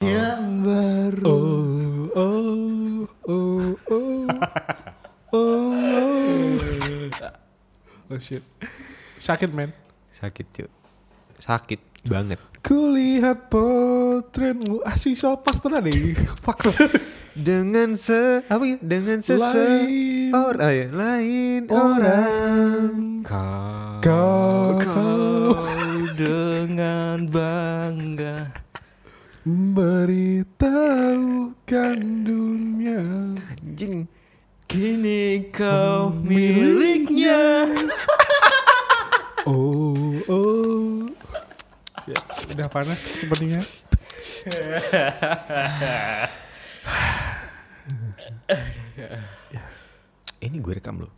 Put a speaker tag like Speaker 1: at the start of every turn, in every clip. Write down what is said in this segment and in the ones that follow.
Speaker 1: Oh, oh. Shit. Sakit men.
Speaker 2: Sakit cuy. Sakit banget.
Speaker 1: Kulihat potretmu asih soal pas tenan deh. Fuck.
Speaker 2: Dengan se apa ya? Dengan
Speaker 1: Lain.
Speaker 2: or ah, ya, lain
Speaker 1: Orang.
Speaker 2: Kau,
Speaker 1: Kau-
Speaker 2: kau dengan bangga.
Speaker 1: Memberitahukan dunia.
Speaker 2: Anjing. Kini kau
Speaker 1: miliknya. Oh, oh. Siap. Udah panas sepertinya.
Speaker 2: Ini gue rekam loh.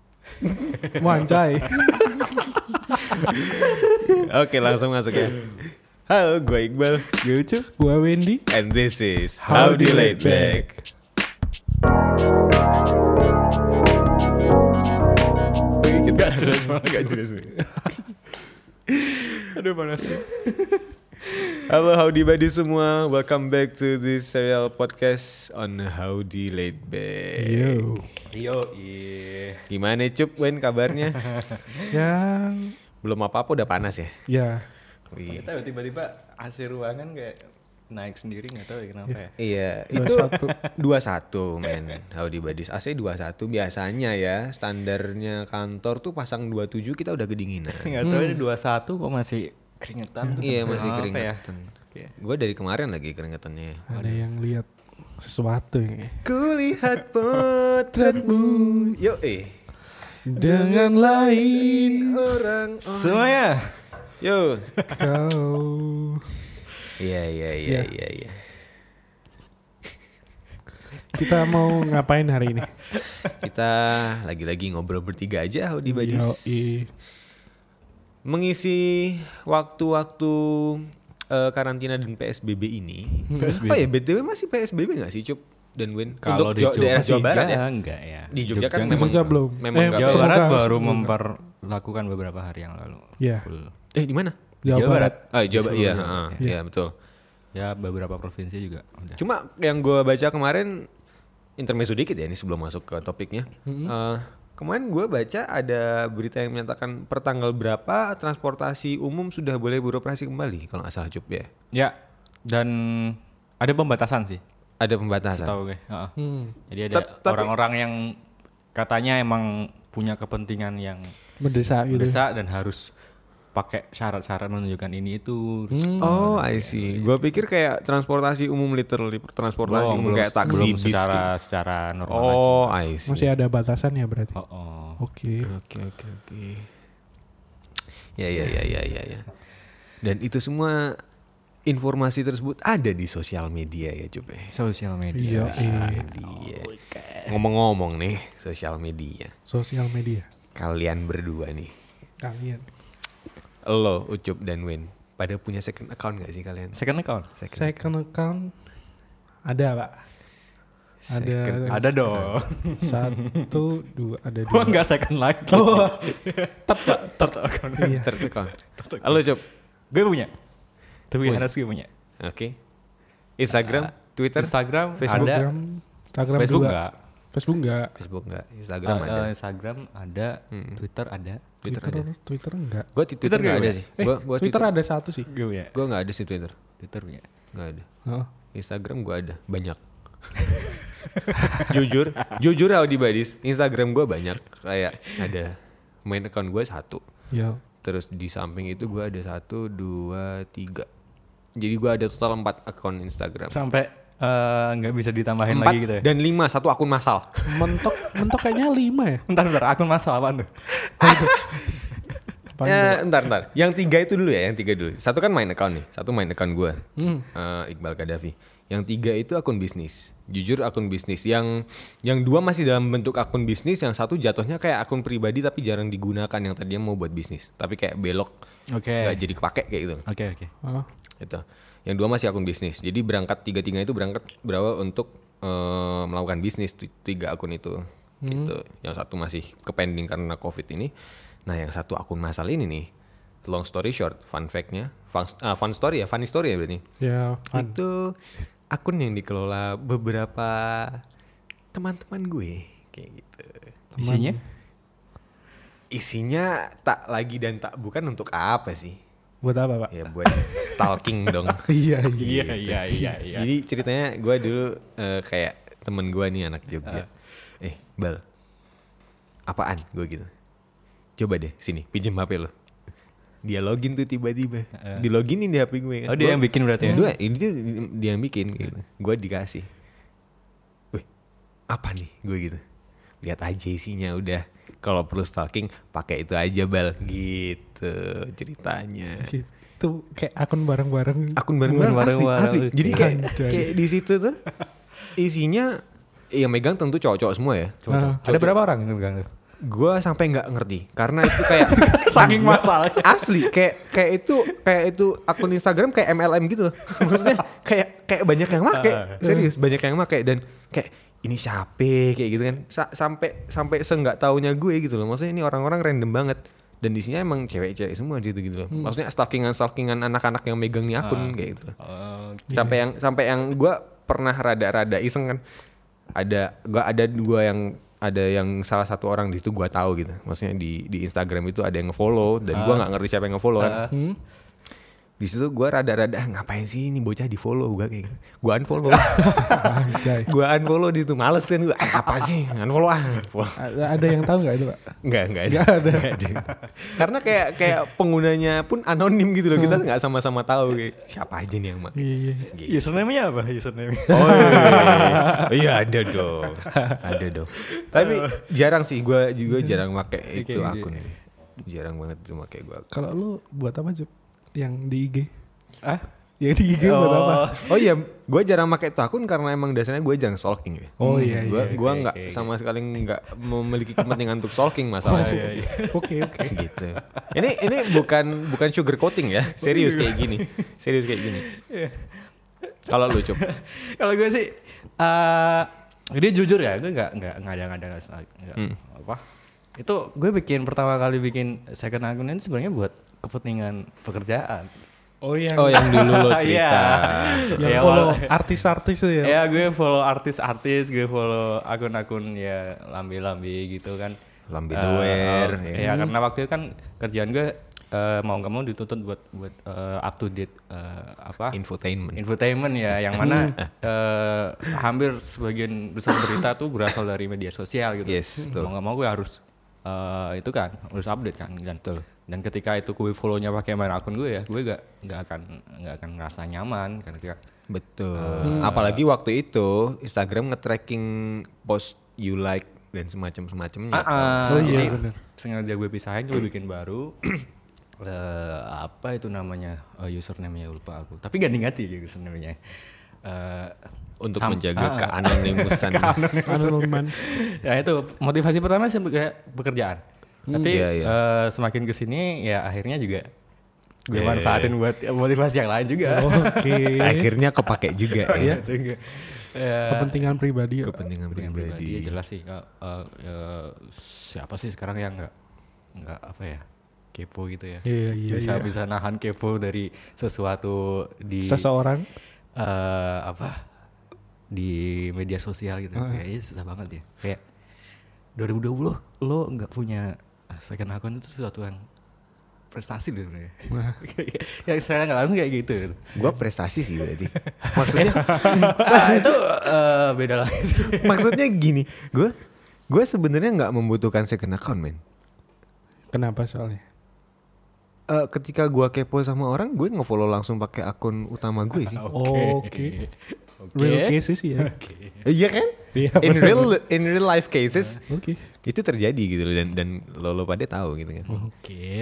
Speaker 1: Wancai.
Speaker 2: Oke, langsung masuk ya. Halo, gue Iqbal, gue Ucu,
Speaker 1: Gua Wendy.
Speaker 2: and this is
Speaker 1: How Do
Speaker 2: Howdy
Speaker 1: You
Speaker 2: Laid
Speaker 1: Laid
Speaker 2: Back. Gak jelas malah gak jelas Aduh panas Halo Howdy Buddy semua Welcome back to this serial podcast On Howdy Laid Back
Speaker 1: Yo.
Speaker 2: Yo
Speaker 3: iya.
Speaker 2: Gimana Cup Wen kabarnya?
Speaker 1: Ya,
Speaker 2: Belum apa-apa udah panas ya?
Speaker 1: ya.
Speaker 2: Iya.
Speaker 3: Kita tiba-tiba AC ruangan kayak naik sendiri nggak tahu ya kenapa ya.
Speaker 2: Iya,
Speaker 1: Dua
Speaker 2: itu
Speaker 1: satu.
Speaker 2: 21 men. Howdy Buddies AC 21 biasanya ya. Standarnya kantor tuh pasang 27 kita udah kedinginan.
Speaker 3: Nggak tahu ini 21 kok masih keringetan tuh.
Speaker 2: iya, masih
Speaker 3: Kenapa ya?
Speaker 2: keringetan.
Speaker 3: Oke.
Speaker 2: Gue dari kemarin lagi keringetannya.
Speaker 1: Ada yang lihat sesuatu ini.
Speaker 2: Kulihat potretmu. Yo eh.
Speaker 1: Dengan lain
Speaker 2: Orang.
Speaker 3: Semuanya.
Speaker 2: Yo.
Speaker 1: kau.
Speaker 2: Iya iya iya iya iya.
Speaker 1: Kita mau ngapain hari ini?
Speaker 2: Kita lagi-lagi ngobrol bertiga aja Howdy Buddies.
Speaker 1: Yoi.
Speaker 2: mengisi waktu-waktu eh, karantina dan PSBB ini. Apa ya BTW masih PSBB nggak sih, Cup? Dan Win
Speaker 3: Kalau
Speaker 2: Untuk
Speaker 3: di
Speaker 2: Jo-
Speaker 3: Jogja,
Speaker 2: daerah Jawa Barat ya.
Speaker 3: enggak ya.
Speaker 2: Di Jogja kan
Speaker 3: enggak.
Speaker 2: memang
Speaker 1: Jogja belum.
Speaker 2: Memang
Speaker 1: Eh,
Speaker 2: nggak
Speaker 3: Jawa
Speaker 1: Semoga-
Speaker 3: Barat baru
Speaker 1: semoga.
Speaker 3: memperlakukan beberapa hari yang lalu.
Speaker 1: Iya.
Speaker 3: Full.
Speaker 2: Eh di mana?
Speaker 1: Jawa, Barat.
Speaker 2: Ah,
Speaker 3: Di
Speaker 2: Jawa
Speaker 3: seluruh
Speaker 2: iya,
Speaker 3: Jawa
Speaker 2: heeh,
Speaker 3: Barat,
Speaker 2: iya betul.
Speaker 3: Ya beberapa provinsi juga udah.
Speaker 2: Cuma yang gua baca kemarin intermezzo dikit ya ini sebelum masuk ke topiknya. Eh, kemarin gua baca ada berita yang menyatakan pertanggal berapa transportasi umum sudah boleh beroperasi kembali kalau nggak salah Cup ya.
Speaker 3: Ya. Dan ada pembatasan sih.
Speaker 2: Ada pembatasan.
Speaker 3: Tahu gue. Heeh.
Speaker 1: Hmm.
Speaker 3: Jadi ada
Speaker 2: Tep- tapi-
Speaker 3: orang-orang yang katanya emang punya kepentingan yang
Speaker 1: Mendesak gitu.
Speaker 3: mendesak dan harus pakai syarat-syarat menunjukkan ini itu. Terus
Speaker 2: Oh, I see. Gua pikir kayak transportasi umum literally transportasi
Speaker 3: Belum,
Speaker 2: umum
Speaker 3: belum
Speaker 2: kayak
Speaker 3: se-
Speaker 2: taksi
Speaker 3: belum
Speaker 2: bis.
Speaker 3: secara
Speaker 2: gitu.
Speaker 3: secara normal lagi.
Speaker 2: Oh, I see.
Speaker 1: Masih ada batasan ya berarti.
Speaker 3: Oh, oh.
Speaker 1: Oke.
Speaker 2: Oke, oke, oke. Ya, ya, ya, ya, ya, ya. Dan itu semua informasi tersebut ada di sosial media ya, Cup. ya?
Speaker 3: sosial media
Speaker 1: Iya. iya.
Speaker 2: Media. Ngomong-ngomong nih, sosial media.
Speaker 1: Sosial media.
Speaker 2: Kalian berdua nih,
Speaker 1: Kalian.
Speaker 2: lo, Ucup dan Win, pada punya second account gak sih kalian?
Speaker 3: second account
Speaker 1: Second account ada pak. Ada
Speaker 2: Second-
Speaker 3: ada dong
Speaker 1: satu dua ada
Speaker 3: gua
Speaker 1: dua.
Speaker 3: nggak second lagi tet tet account
Speaker 1: Iya.
Speaker 2: Third account. Lo, Cup.
Speaker 3: gue punya tapi
Speaker 2: Punya.
Speaker 3: Anas gue punya
Speaker 2: Oke.
Speaker 3: Ah,
Speaker 2: Instagram, Twitter,
Speaker 3: Instagram
Speaker 2: Facebook.
Speaker 3: ada
Speaker 1: Instagram, Instagram
Speaker 3: Facebook
Speaker 1: dua.
Speaker 3: enggak
Speaker 1: Facebook enggak.
Speaker 2: Facebook enggak, Instagram
Speaker 3: Ah,
Speaker 2: ada. Hmm.
Speaker 3: Instagram ada Twitter ada
Speaker 2: Twitter,
Speaker 1: Twitter,
Speaker 2: ada.
Speaker 1: Twitter enggak.
Speaker 2: Gue Twitter,
Speaker 3: Twitter
Speaker 2: enggak
Speaker 3: nggak
Speaker 2: ada
Speaker 3: ada?
Speaker 2: sih.
Speaker 1: Eh,
Speaker 2: Gua gua
Speaker 1: Twitter, ada satu sih.
Speaker 3: gue punya
Speaker 2: Gua enggak ada sih Twitter.
Speaker 3: Twitter punya
Speaker 2: Enggak ada.
Speaker 1: Heeh.
Speaker 2: Instagram gua ada, banyak. jujur, jujur Audi Badis, Instagram gua banyak. Kayak ada main account gua satu.
Speaker 1: Ya.
Speaker 2: Terus di samping itu gua ada satu, dua, tiga. Jadi gua ada total empat account Instagram.
Speaker 3: sampai eh, nggak bisa ditambahin
Speaker 2: Empat
Speaker 3: lagi gitu ya
Speaker 2: dan lima, satu akun masal.
Speaker 1: Mentok mentok kayaknya lima ya.
Speaker 3: ntar ntar akun masal apaan tuh
Speaker 2: Eh, ntar, ntar. Yang tiga itu dulu ya, yang tiga dulu. Satu kan main account nih, satu main account gue. Iqbal Kadafi. Yang tiga itu akun bisnis. Jujur akun bisnis. Yang yang dua masih dalam bentuk akun bisnis, yang satu jatuhnya kayak akun pribadi tapi jarang digunakan yang tadinya mau buat bisnis, tapi kayak belok.
Speaker 3: oke
Speaker 2: nggak jadi kepake kayak gitu.
Speaker 3: oke oke
Speaker 1: Heeh.
Speaker 2: Itu. Gitu. Yang dua masih akun bisnis. Jadi berangkat tiga-tiga itu berangkat berapa untuk eh, melakukan bisnis t- tiga akun itu. Gitu. Yang satu masih ke pending karena Covid ini. Nah, yang satu akun masal ini nih. Long story short, fun fact-nya, fun, ah, fun story ya, funny story ya berarti.
Speaker 1: Ya, fun.
Speaker 2: Itu akun yang dikelola beberapa teman-teman gue kayak gitu.
Speaker 3: isinya
Speaker 2: isinya tak lagi dan tak bukan untuk apa sih?
Speaker 1: Buat apa pak?
Speaker 2: Ya buat stalking dong.
Speaker 1: Iya
Speaker 3: Iya iya iya iya.
Speaker 2: Jadi ceritanya gue dulu eh, kayak temen gue nih anak
Speaker 3: Ah.
Speaker 2: Jogja. Eh Bal, apaan gue gitu? Coba deh sini pinjem HP lo. Dia login tuh tiba-tiba. Di loginin di HP gue. Kan.
Speaker 3: Eh. Oh, dia
Speaker 2: Gua-
Speaker 3: yang bikin berarti ya? Eh.
Speaker 2: Gua, ini dia, dia yang bikin. Gitu. Gue dikasih. Wih, apa nih gue gitu? Lihat aja isinya udah. Kalau perlu stalking, pakai itu aja bal. Gitu ceritanya
Speaker 1: Itu kayak akun bareng-bareng.
Speaker 2: akun bareng-bareng
Speaker 3: Bareng-bareng,
Speaker 2: asli,
Speaker 3: bareng.
Speaker 2: asli. Jadi kayak
Speaker 1: Anjay.
Speaker 2: kayak di situ tuh isinya yang megang tentu cowok-cowok semua ya.
Speaker 1: Cowok-cowok.
Speaker 3: Ada berapa orang yang megang tuh?
Speaker 2: Gua sampai nggak ngerti karena itu kayak
Speaker 1: Saking
Speaker 2: Gua-
Speaker 1: masalahnya.
Speaker 2: Asli kayak kayak itu kayak itu akun Instagram kayak MLM gitu loh. Maksudnya kayak kayak banyak yang make. Serius banyak yang make dan kayak ini siapa kayak gitu kan. Sa- sampai sampai seenggak taunya gue gitu loh. Maksudnya ini orang-orang random banget dan di sini emang cewek-cewek semua gitu gitu loh. Maksudnya stalkingan-stalkingan anak-anak yang megang nih akun kayak gitu loh
Speaker 3: Oh,
Speaker 2: sampai yang sampai yang gue pernah rada-rada iseng kan ada gua ada dua yang ada yang salah satu orang di situ gue tahu gitu maksudnya di di Instagram itu ada yang ngefollow dan gua nggak ngerti siapa yang ngefollow kan
Speaker 1: Hmm?
Speaker 2: di situ gue rada-rada "Ah, ngapain sih ini bocah di follow gue kayak gitu. gue unfollow
Speaker 1: Anjay.
Speaker 2: gue unfollow di situ males kan gue apa sih unfollow ah Unfollow.
Speaker 1: A- Ada yang tahu nggak itu pak?
Speaker 2: Nggak, nggak ada. Nggak ada. Karena kayak kayak penggunanya pun anonim gitu loh. Kita nggak sama-sama tahu kayak siapa aja nih yang ma-
Speaker 1: Iya. iya.
Speaker 3: Username-nya apa? Username.
Speaker 2: Oh iya ada dong, ada dong. Tapi jarang sih, gue juga jarang pakai itu
Speaker 3: Oke, oke.
Speaker 2: akun ini. Jarang banget tuh pakai gue.
Speaker 1: Kalau lu buat apa Jup? Yang di IG? Ah? Yang di IG buat apa?
Speaker 3: Oh.
Speaker 2: Oh iya, gue jarang pakai itu akun karena emang dasarnya gue jarang stalking ya.
Speaker 1: Oh iya iya.
Speaker 2: Gue gua
Speaker 3: oke,
Speaker 2: nggak
Speaker 3: oke, oke.
Speaker 2: sama sekali nggak memiliki kepentingan untuk stalking
Speaker 1: Oh,
Speaker 2: masalahnya.
Speaker 1: iya, Oke oke.
Speaker 2: gitu. Ini ini bukan bukan sugar coating ya, serius kayak gini, serius kayak gini.
Speaker 1: Iya.
Speaker 2: Kalau lu cup,
Speaker 3: Kalau gue sih eh dia jujur ya, gue nggak nggak ngada-ngada nggak salah, nggak apa. Itu gue bikin pertama kali bikin second akun ini sebenarnya buat kepentingan pekerjaan.
Speaker 1: Oh yang
Speaker 2: oh iya. yang dulu lo cerita,
Speaker 3: Iya.
Speaker 1: yang
Speaker 3: Ya,
Speaker 1: follow
Speaker 3: wala-
Speaker 1: artis-artis tuh
Speaker 2: Iya.
Speaker 1: ya.
Speaker 3: Ya gue follow artis-artis, gue follow akun-akun ya lambe-lambe gitu kan.
Speaker 2: Lambe
Speaker 3: Eh,
Speaker 2: doer,
Speaker 3: eh,
Speaker 2: ya.
Speaker 3: ya. karena waktu itu kan kerjaan gue eh, mau nggak mau dituntut buat buat eh, up to date eh, apa
Speaker 2: infotainment.
Speaker 3: Infotainment ya, yang mana eh, hampir sebagian besar berita tuh berasal dari media sosial gitu.
Speaker 2: Yes, betul.
Speaker 3: mau nggak mau gue harus eh, itu kan harus update kan dan dan ketika itu gue follow-nya pakai main akun gue ya, gue gak nggak akan nggak akan ngerasa nyaman kan ketika
Speaker 2: Betul. Hmm. Apalagi waktu itu Instagram nge-tracking post you like dan semacam-semacamnya.
Speaker 3: Ah,
Speaker 1: Oh,
Speaker 3: jadi
Speaker 1: iya, bener.
Speaker 3: sengaja gue pisahin gue bikin baru. Eh, apa itu namanya eh, username-nya lupa aku. Tapi ganti-ganti gitu username-nya. Eh,
Speaker 2: Untuk
Speaker 3: sam-
Speaker 2: menjaga
Speaker 3: ah,
Speaker 2: keanonimusan.
Speaker 1: Anonymous.
Speaker 3: ya itu motivasi pertama sih kayak pekerjaan. Tapi
Speaker 2: Iya, iya.
Speaker 3: eh, semakin kesini ya akhirnya juga gue manfaatin buat motivasi yang lain juga.
Speaker 1: Oke.
Speaker 2: Akhirnya kepake juga
Speaker 3: Oh,
Speaker 2: ya.
Speaker 3: Juga. Ya,
Speaker 1: Kepentingan pribadi. Pak.
Speaker 3: iya.
Speaker 2: Kepentingan
Speaker 3: kepentingan pribadi ya
Speaker 2: pribadi.
Speaker 3: jelas sih. Eh, eh, eh, siapa sih sekarang yang nggak nggak apa ya kepo gitu ya?
Speaker 1: Iya iya.
Speaker 3: bisa
Speaker 1: iya.
Speaker 3: bisa nahan kepo dari sesuatu di
Speaker 1: Seseorang
Speaker 3: eh, apa di media sosial gitu kayaknya susah banget ya kayak 2020 lo nggak punya second account itu sesuatu yang prestasi gitu sebenarnya yang saya nggak langsung kayak gitu
Speaker 2: Gua prestasi sih berarti. Maksudnya
Speaker 3: Ah, itu eh, beda lagi sih.
Speaker 2: maksudnya gini, gua gua sebenarnya nggak membutuhkan second account, men.
Speaker 1: kenapa soalnya?
Speaker 2: Eh, ketika gua kepo sama orang, gue ngefollow langsung pakai akun utama gue sih.
Speaker 3: Oh,
Speaker 1: Oke. Real cases ya.
Speaker 2: Iya kan?
Speaker 1: Iya,
Speaker 2: In real in real life cases
Speaker 1: Oke.
Speaker 3: Iya.
Speaker 2: itu terjadi gitu loh, dan dan lo lo pada tahu gitu
Speaker 3: Hmm.
Speaker 2: kan.
Speaker 3: oke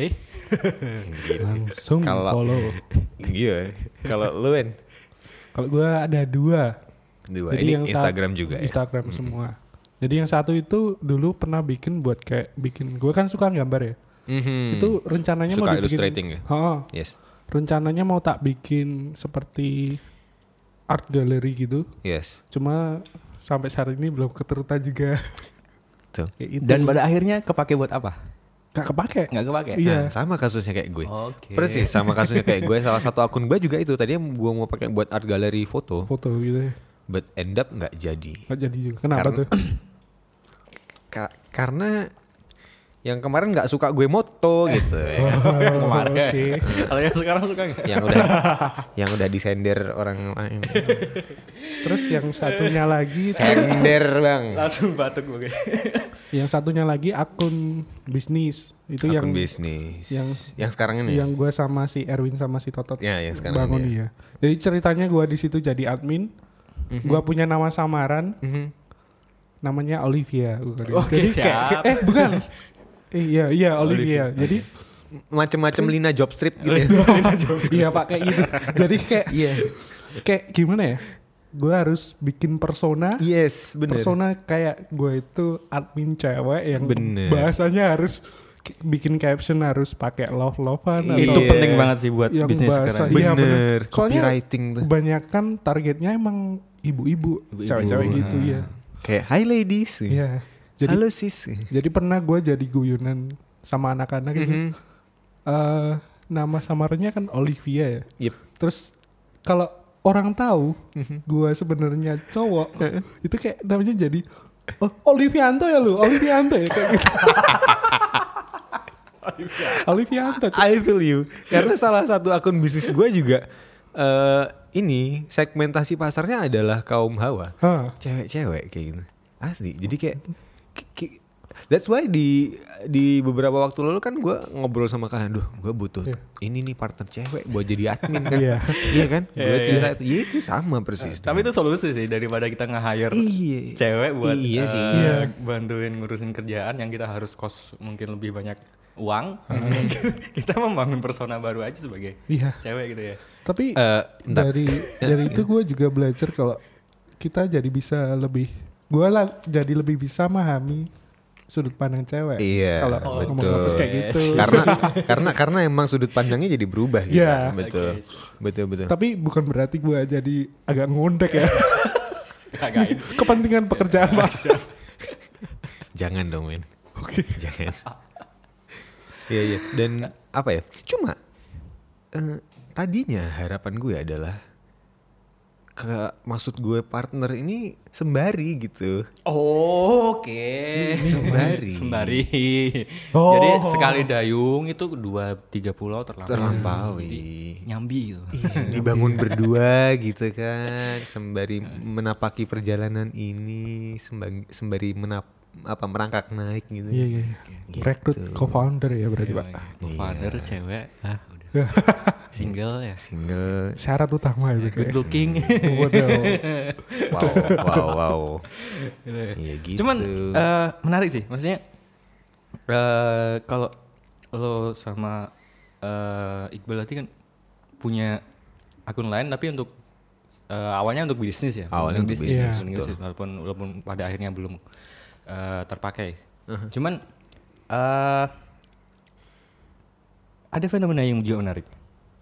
Speaker 1: Langsung
Speaker 2: Kalau-
Speaker 1: follow.
Speaker 2: Iya. Kalau lu Wen?
Speaker 1: Kalau gua ada dua.
Speaker 2: Dua.
Speaker 1: Jadi
Speaker 2: Ini
Speaker 1: yang saat-
Speaker 2: Instagram juga ya.
Speaker 1: Instagram semua. Jadi yang satu itu dulu pernah bikin buat kayak bikin gue kan suka gambar ya.
Speaker 2: Mhm.
Speaker 1: Itu rencananya mau
Speaker 2: Suka
Speaker 1: dibikin.
Speaker 2: illustrating ya?
Speaker 1: Ha-ha.
Speaker 2: Yes.
Speaker 1: rencananya mau tak bikin seperti art gallery gitu.
Speaker 2: Yes.
Speaker 1: Cuma sampai saat ini belum keterutan juga.
Speaker 2: Tuh.
Speaker 1: Kayak itu.
Speaker 3: dan pada akhirnya kepake buat apa
Speaker 1: nggak kepake.
Speaker 3: nggak kepake
Speaker 1: Iya.
Speaker 2: Nah, sama kasusnya kayak gue.
Speaker 3: Oke.
Speaker 2: Persis sama kasusnya kayak gue. Salah satu akun gue juga itu. Tadi gue mau pakai buat art gallery foto,
Speaker 1: Foto gitu ya.
Speaker 2: but end up nggak jadi.
Speaker 1: Nggak jadi juga. Kenapa
Speaker 2: Karena-
Speaker 1: tuh?
Speaker 2: Ka- karena yang kemarin nggak suka gue moto gitu ya.
Speaker 1: Kemarin. Oh, Oke.
Speaker 3: Kalau yang sekarang suka nggak?
Speaker 2: yang udah yang udah disender orang lain
Speaker 1: Terus yang satunya lagi, kan-
Speaker 2: sender bang
Speaker 3: Langsung batuk gue.
Speaker 1: yang satunya lagi akun bisnis itu
Speaker 2: akun
Speaker 1: yang
Speaker 2: bisnis yang,
Speaker 1: yang-
Speaker 2: sekarang ini ya?
Speaker 1: yang gue sama si Erwin sama si Totot
Speaker 2: Ya, yang sekarang
Speaker 1: bangun
Speaker 2: ini
Speaker 1: dia. Jadi ceritanya gue di situ jadi admin, gue punya nama samaran,
Speaker 2: Mhm.
Speaker 1: namanya Olivia.
Speaker 3: Oke,
Speaker 1: Jadi kayak-
Speaker 3: siap.
Speaker 1: kayak- eh bukan, Eh, iya iya Olivia. Jadi
Speaker 2: macem-macem Lina job strip gitu ya.
Speaker 1: iya pak kayak gitu. Jadi kayak
Speaker 2: Iya.
Speaker 1: kayak gimana ya? Gue harus bikin persona.
Speaker 2: Yes, Iya, bener.
Speaker 1: persona kayak gue itu admin cewek yang
Speaker 2: Bener.
Speaker 1: bahasanya harus k- bikin caption harus pakai love lovean
Speaker 2: Iya.
Speaker 1: atau
Speaker 3: Itu penting banget sih buat
Speaker 1: yang
Speaker 3: bisnis
Speaker 1: bahasa
Speaker 3: sekarang.
Speaker 1: iya,
Speaker 2: Bener,
Speaker 1: Soalnya
Speaker 2: copywriting tuh.
Speaker 1: kebanyakan targetnya emang ibu-ibu,
Speaker 2: Ibu-ibu.
Speaker 1: cewek-cewek gitu
Speaker 2: Ah.
Speaker 1: ya.
Speaker 2: Kayak hi ladies.
Speaker 1: Iya. Jadi Iya.
Speaker 2: Halo sis.
Speaker 1: jadi pernah gue jadi guyunan sama anak-anak gitu.
Speaker 2: Mhm.
Speaker 1: Eh, nama samarannya kan Olivia ya.
Speaker 2: Yep.
Speaker 1: Terus kalau orang tahu gua sebenarnya cowok, itu kayak namanya jadi oh, Olivianto ya lu, Olivianto ya kayak gitu. Olivianto. cuy.
Speaker 2: I feel you. Karena salah satu akun bisnis gue juga eh ini segmentasi pasarnya adalah kaum hawa.
Speaker 1: Hah.
Speaker 2: Cewek-cewek kayak gitu. Asli. Jadi kayak ki- ki- That's why di di beberapa waktu lalu kan gue ngobrol sama kalian, duh gue butuh
Speaker 1: Iya.
Speaker 2: ini nih partner cewek buat jadi admin kan,
Speaker 1: Iya.
Speaker 2: iya kan, gue
Speaker 3: Iya, iya.
Speaker 2: cerita itu, ya itu sama persis.
Speaker 3: Tapi itu solusi sih daripada kita nge-hire
Speaker 2: Iya.
Speaker 3: cewek buat
Speaker 2: Iya sih.
Speaker 3: eh,
Speaker 1: Iya.
Speaker 3: bantuin ngurusin kerjaan yang kita harus kos mungkin lebih banyak uang. kita membangun persona baru aja sebagai
Speaker 1: Hmm. Iya.
Speaker 3: cewek gitu ya.
Speaker 1: Tapi
Speaker 2: Eh, bentar.
Speaker 1: dari dari itu gue juga belajar kalau kita jadi bisa lebih gue lah jadi lebih bisa memahami sudut pandang cewek.
Speaker 2: Iya,
Speaker 1: Kalau
Speaker 2: betul.
Speaker 1: ngomong ngapus kayak gitu.
Speaker 2: karena karena karena emang sudut pandangnya jadi berubah gitu.
Speaker 1: Iya.
Speaker 2: kan. Betul.
Speaker 3: Oke, yes,
Speaker 2: Betul betul.
Speaker 1: Tapi bukan berarti gue jadi agak ngondek ya.
Speaker 3: Kagain.
Speaker 1: Kepentingan pekerjaan pak.
Speaker 2: Jangan dong, Win. Oke. Jangan. Iya iya. Dan apa ya? Cuma eh, tadinya harapan gue adalah ke maksud gue partner ini sembari gitu.
Speaker 3: Oke.
Speaker 2: Sembari.
Speaker 3: Sembari.
Speaker 1: Oh.
Speaker 3: Jadi sekali dayung itu dua tiga pulau terlampau.
Speaker 2: Terlampaui.
Speaker 3: Nyambi gitu.
Speaker 2: Iya. Dibangun berdua gitu kan, sembari menapaki perjalanan ini, sembari, sembari menap apa merangkak naik gitu.
Speaker 1: Iya iya.
Speaker 2: Gitu.
Speaker 1: Rekrut co-founder ya berarti
Speaker 3: Iya,
Speaker 1: pak.
Speaker 3: Father
Speaker 2: Iya.
Speaker 3: cewek. Ah, udah. Single ya.
Speaker 2: Single.
Speaker 1: Syarat utama ya, itu.
Speaker 3: Good looking.
Speaker 2: Iya.
Speaker 1: Waduh.
Speaker 2: Wow, wow, wow. Iya gitu.
Speaker 3: Cuman eh, menarik sih, maksudnya eh, kalau lo sama eh, Iqbal tadi kan punya akun lain tapi untuk eh, awalnya untuk bisnis ya.
Speaker 2: Awalnya untuk
Speaker 1: bisnis,
Speaker 3: untuk bisnis, walaupun walaupun pada akhirnya belum eh, terpakai.
Speaker 1: Uh-huh.
Speaker 3: Cuman eh, ada fenomena yang juga menarik.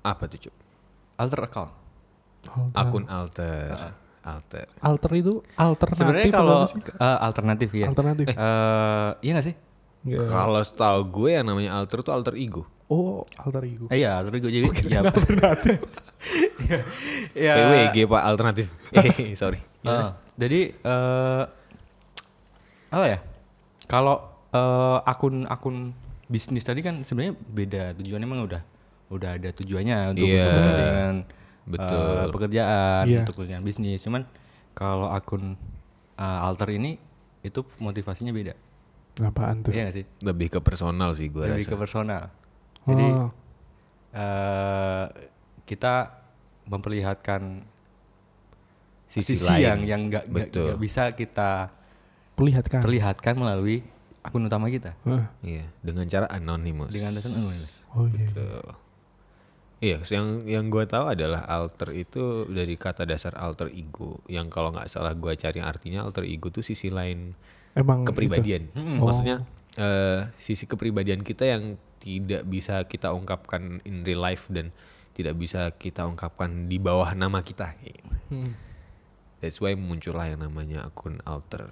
Speaker 2: apa tuh cup?
Speaker 3: Alter account.
Speaker 2: Akun alter, alter.
Speaker 1: oh. Alter itu alternatif.
Speaker 3: Sebenarnya
Speaker 1: apa
Speaker 3: kalau
Speaker 1: sih?
Speaker 3: eh, alternatif ya.
Speaker 1: Alternatif.
Speaker 3: Eh, iya gak sih?
Speaker 1: Iya.
Speaker 2: Kalau setahu gue yang namanya alter tuh alter ego.
Speaker 1: Oh alter ego.
Speaker 3: Eh, Iya, terus gue jadi ya, alternatif.
Speaker 2: Iya.
Speaker 3: ya,
Speaker 2: PWG pak alternatif. Eh, Sorry.
Speaker 3: Eh, jadi eh apa ya? Kalau eh, akun-akun bisnis tadi kan sebenarnya beda tujuannya emang udah udah ada tujuannya untuk
Speaker 2: Iya,
Speaker 3: kepentingan, eh,
Speaker 2: betul.
Speaker 3: pekerjaan
Speaker 1: Iya.
Speaker 3: untuk kepentingan bisnis. Cuman kalau akun eh, alter ini itu motivasinya beda.
Speaker 1: Apaan tuh?
Speaker 3: Iya gak sih?
Speaker 2: Lebih ke personal sih gue
Speaker 3: Lebih
Speaker 2: rasa.
Speaker 3: ke personal.
Speaker 1: Oh.
Speaker 3: Jadi eh kita memperlihatkan
Speaker 2: Sisi
Speaker 3: sisi,
Speaker 2: lain.
Speaker 3: yang yang nggak nggak-
Speaker 2: Betul. Nah.
Speaker 3: nggak bisa kita
Speaker 1: Perlihatkan.
Speaker 3: perlihatkan melalui akun utama kita
Speaker 1: Hah.
Speaker 2: Iya, dengan cara anonymous.
Speaker 3: dengan dasar anonymous.
Speaker 1: Oh iya.
Speaker 2: Betul. Iya, yang yang gue tahu adalah alter itu dari kata dasar alter ego. Yang kalau nggak salah gue cari artinya alter ego tuh sisi lain
Speaker 3: Hmm,
Speaker 1: Emang Gitu.
Speaker 2: kepribadian. Mm, Maksudnya
Speaker 3: oh.
Speaker 2: eh, sisi kepribadian kita yang tidak bisa kita ungkapkan in real life dan tidak bisa kita ungkapkan di bawah nama kita. gitu.
Speaker 1: Hmm.
Speaker 2: That's why muncullah yang namanya akun alter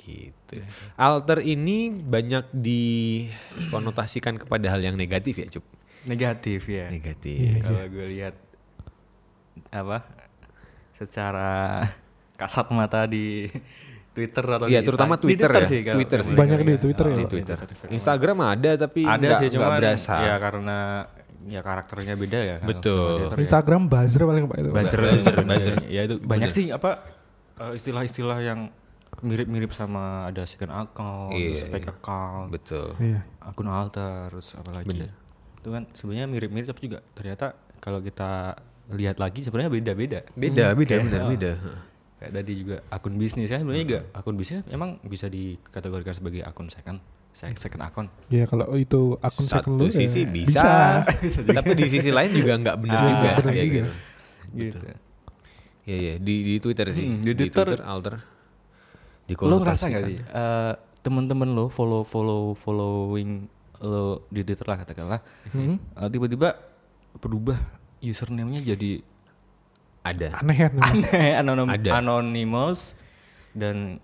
Speaker 2: gitu. Alter ini banyak dikonotasikan kepada hal yang negatif ya, Cup.
Speaker 3: Negatif ya.
Speaker 2: Negatif.
Speaker 3: Kalau gue lihat apa secara kasat mata di Twitter atau
Speaker 2: Iya,
Speaker 3: di
Speaker 2: terutama
Speaker 3: Insta- di
Speaker 2: Twitter, ya.
Speaker 3: sih kalau-
Speaker 2: Twitter sih. Iya,
Speaker 1: Banyak di Twitter ya.
Speaker 2: di
Speaker 1: Kalau
Speaker 2: Twitter. Instagram ada tapi
Speaker 3: Iya, Ada
Speaker 2: nggak-
Speaker 3: sih
Speaker 2: nggak
Speaker 3: cuman
Speaker 2: berasa.
Speaker 3: ya karena ya karakternya beda ya. kalau
Speaker 2: Betul.
Speaker 3: sama Twitter ya.
Speaker 1: Instagram buzzer paling pak itu.
Speaker 3: buzzer buzzer ya itu banyak sih apa eh, istilah-istilah yang mirip-mirip sama ada second account,
Speaker 2: Iya,
Speaker 3: terus fake account,
Speaker 2: Betul.
Speaker 1: Iya.
Speaker 3: akun alter, terus apa lagi? Itu kan sebenarnya mirip-mirip tapi juga ternyata kalau kita lihat lagi sebenarnya beda-beda.
Speaker 2: Beda, beda, benar, beda.
Speaker 3: Kayak tadi juga akun bisnis kan sebenarnya juga akun bisnis emang bisa dikategorikan sebagai akun second, sec- second account.
Speaker 1: Iya kalau itu akun second
Speaker 2: Satu
Speaker 1: lu ya.
Speaker 2: sisi bisa, tapi di sisi lain juga nggak benar
Speaker 1: Iya,
Speaker 2: juga.
Speaker 1: benar
Speaker 2: kayak
Speaker 1: juga.
Speaker 2: gitu.
Speaker 3: Gitu.
Speaker 2: Iya, iya, di di Twitter sih.
Speaker 3: Hmm, di Twitter.
Speaker 2: alter.
Speaker 3: lo ngerasa
Speaker 2: kan.
Speaker 3: gak sih eh, temen-temen lo follow follow following lo di Twitter lah katakanlah
Speaker 1: Hmm.
Speaker 3: eh, tiba-tiba berubah username-nya jadi
Speaker 2: Ada.
Speaker 1: Aneh kan. memang.
Speaker 3: aneh anonim
Speaker 2: Ada.
Speaker 3: anonymous dan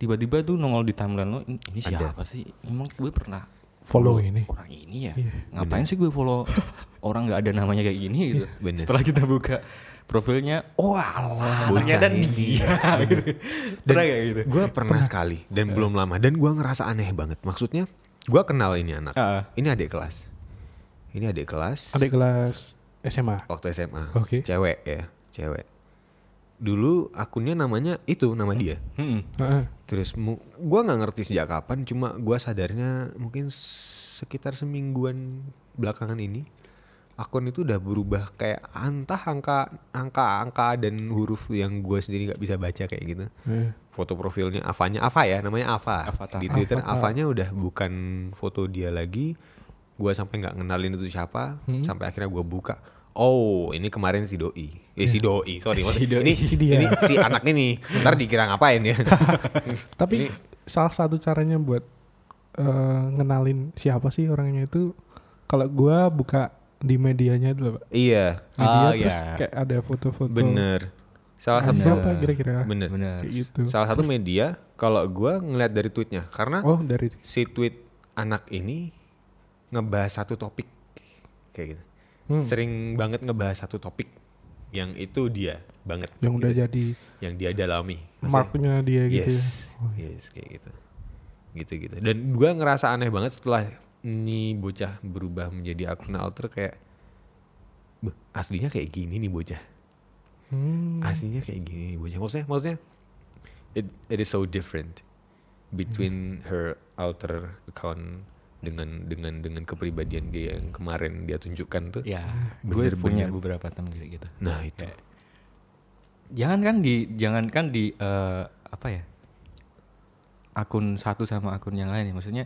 Speaker 3: tiba-tiba tuh nongol di timeline lo "Ini- ini siapa sih emang gue pernah
Speaker 1: Follow ini.
Speaker 3: orang ini ya
Speaker 2: Iya,
Speaker 3: ngapain sih gue follow orang nggak ada namanya kayak gini gitu
Speaker 2: bener.
Speaker 3: setelah kita buka profilnya oh alah
Speaker 2: Bocah
Speaker 3: ternyata
Speaker 2: ini. Iya.
Speaker 3: dia gitu
Speaker 2: Dan
Speaker 3: pernah kayak gitu
Speaker 2: Gue Iya. pernah sekali dan
Speaker 1: Iya.
Speaker 2: belum lama dan gue ngerasa aneh banget. Maksudnya gue kenal ini anak.
Speaker 3: Ah.
Speaker 2: Ini adik kelas. Ini adik kelas.
Speaker 1: Iya. Adik kelas SMA.
Speaker 2: Waktu SMA.
Speaker 1: Oke.
Speaker 2: Cewek ya, cewek. Dulu akunnya namanya itu nama dia.
Speaker 3: Hmm.
Speaker 1: Heeh.
Speaker 2: Terus mu, gue nggak ngerti sejak kapan, cuma gue sadarnya mungkin sekitar semingguan belakangan ini akun itu udah berubah kayak entah angka angka angka dan huruf yang gue sendiri nggak bisa baca kayak gitu.
Speaker 1: Iya.
Speaker 2: Foto profilnya Avanya Ava ya, namanya Ava.
Speaker 3: Avatar.
Speaker 2: Di Twitter
Speaker 1: Avatar.
Speaker 2: Avanya udah bukan foto dia lagi. Gue sampai nggak ngenalin itu siapa,
Speaker 1: Hmm.
Speaker 2: sampai akhirnya gue buka. Oh, ini kemarin si doi. Eh si doi, sorry. Ini
Speaker 1: Iya. Si dia. Hmm.
Speaker 2: ini si anak ini nih. Ntar dikira ngapain ya?
Speaker 1: Tapi salah satu caranya buat eh, ngenalin siapa sih orangnya itu kalau gua buka di medianya itu loh, Pak.
Speaker 2: Iya,
Speaker 1: Media
Speaker 3: Ah,
Speaker 1: terus
Speaker 3: iya.
Speaker 1: kayak ada foto-foto.
Speaker 2: bener. Salah
Speaker 1: Ada
Speaker 2: satu
Speaker 1: apa ya? kira-kira?
Speaker 2: bener.
Speaker 3: benar
Speaker 1: Kayak gitu.
Speaker 2: Salah satu media kalau gua ngelihat dari tweetnya karena
Speaker 1: Oh, dari
Speaker 2: si tweet anak ini ngebahas satu topik kayak gitu.
Speaker 1: Hmm.
Speaker 2: Sering banget ngebahas satu topik yang itu dia banget
Speaker 1: yang udah
Speaker 2: gitu.
Speaker 1: jadi
Speaker 2: yang dia dalami. Maksudnya-
Speaker 1: marknya dia gitu.
Speaker 2: yes,
Speaker 1: ya.
Speaker 2: yes kayak gitu. Gitu-gitu. Dan gua ngerasa aneh banget setelah ini bocah berubah menjadi akun alter kayak "Beh, aslinya kayak gini nih bocah.
Speaker 1: Hmm.
Speaker 2: aslinya kayak gini nih bocah maksudnya maksudnya it it is so different between her alter account dengan dengan dengan kepribadian dia yang kemarin dia tunjukkan tuh
Speaker 1: Iya.
Speaker 3: ya gue
Speaker 2: Bener-bener.
Speaker 3: punya beberapa teman kayak gitu
Speaker 2: nah itu
Speaker 3: jangan kan di jangan kan di eh, apa ya akun satu sama akun yang lain ya maksudnya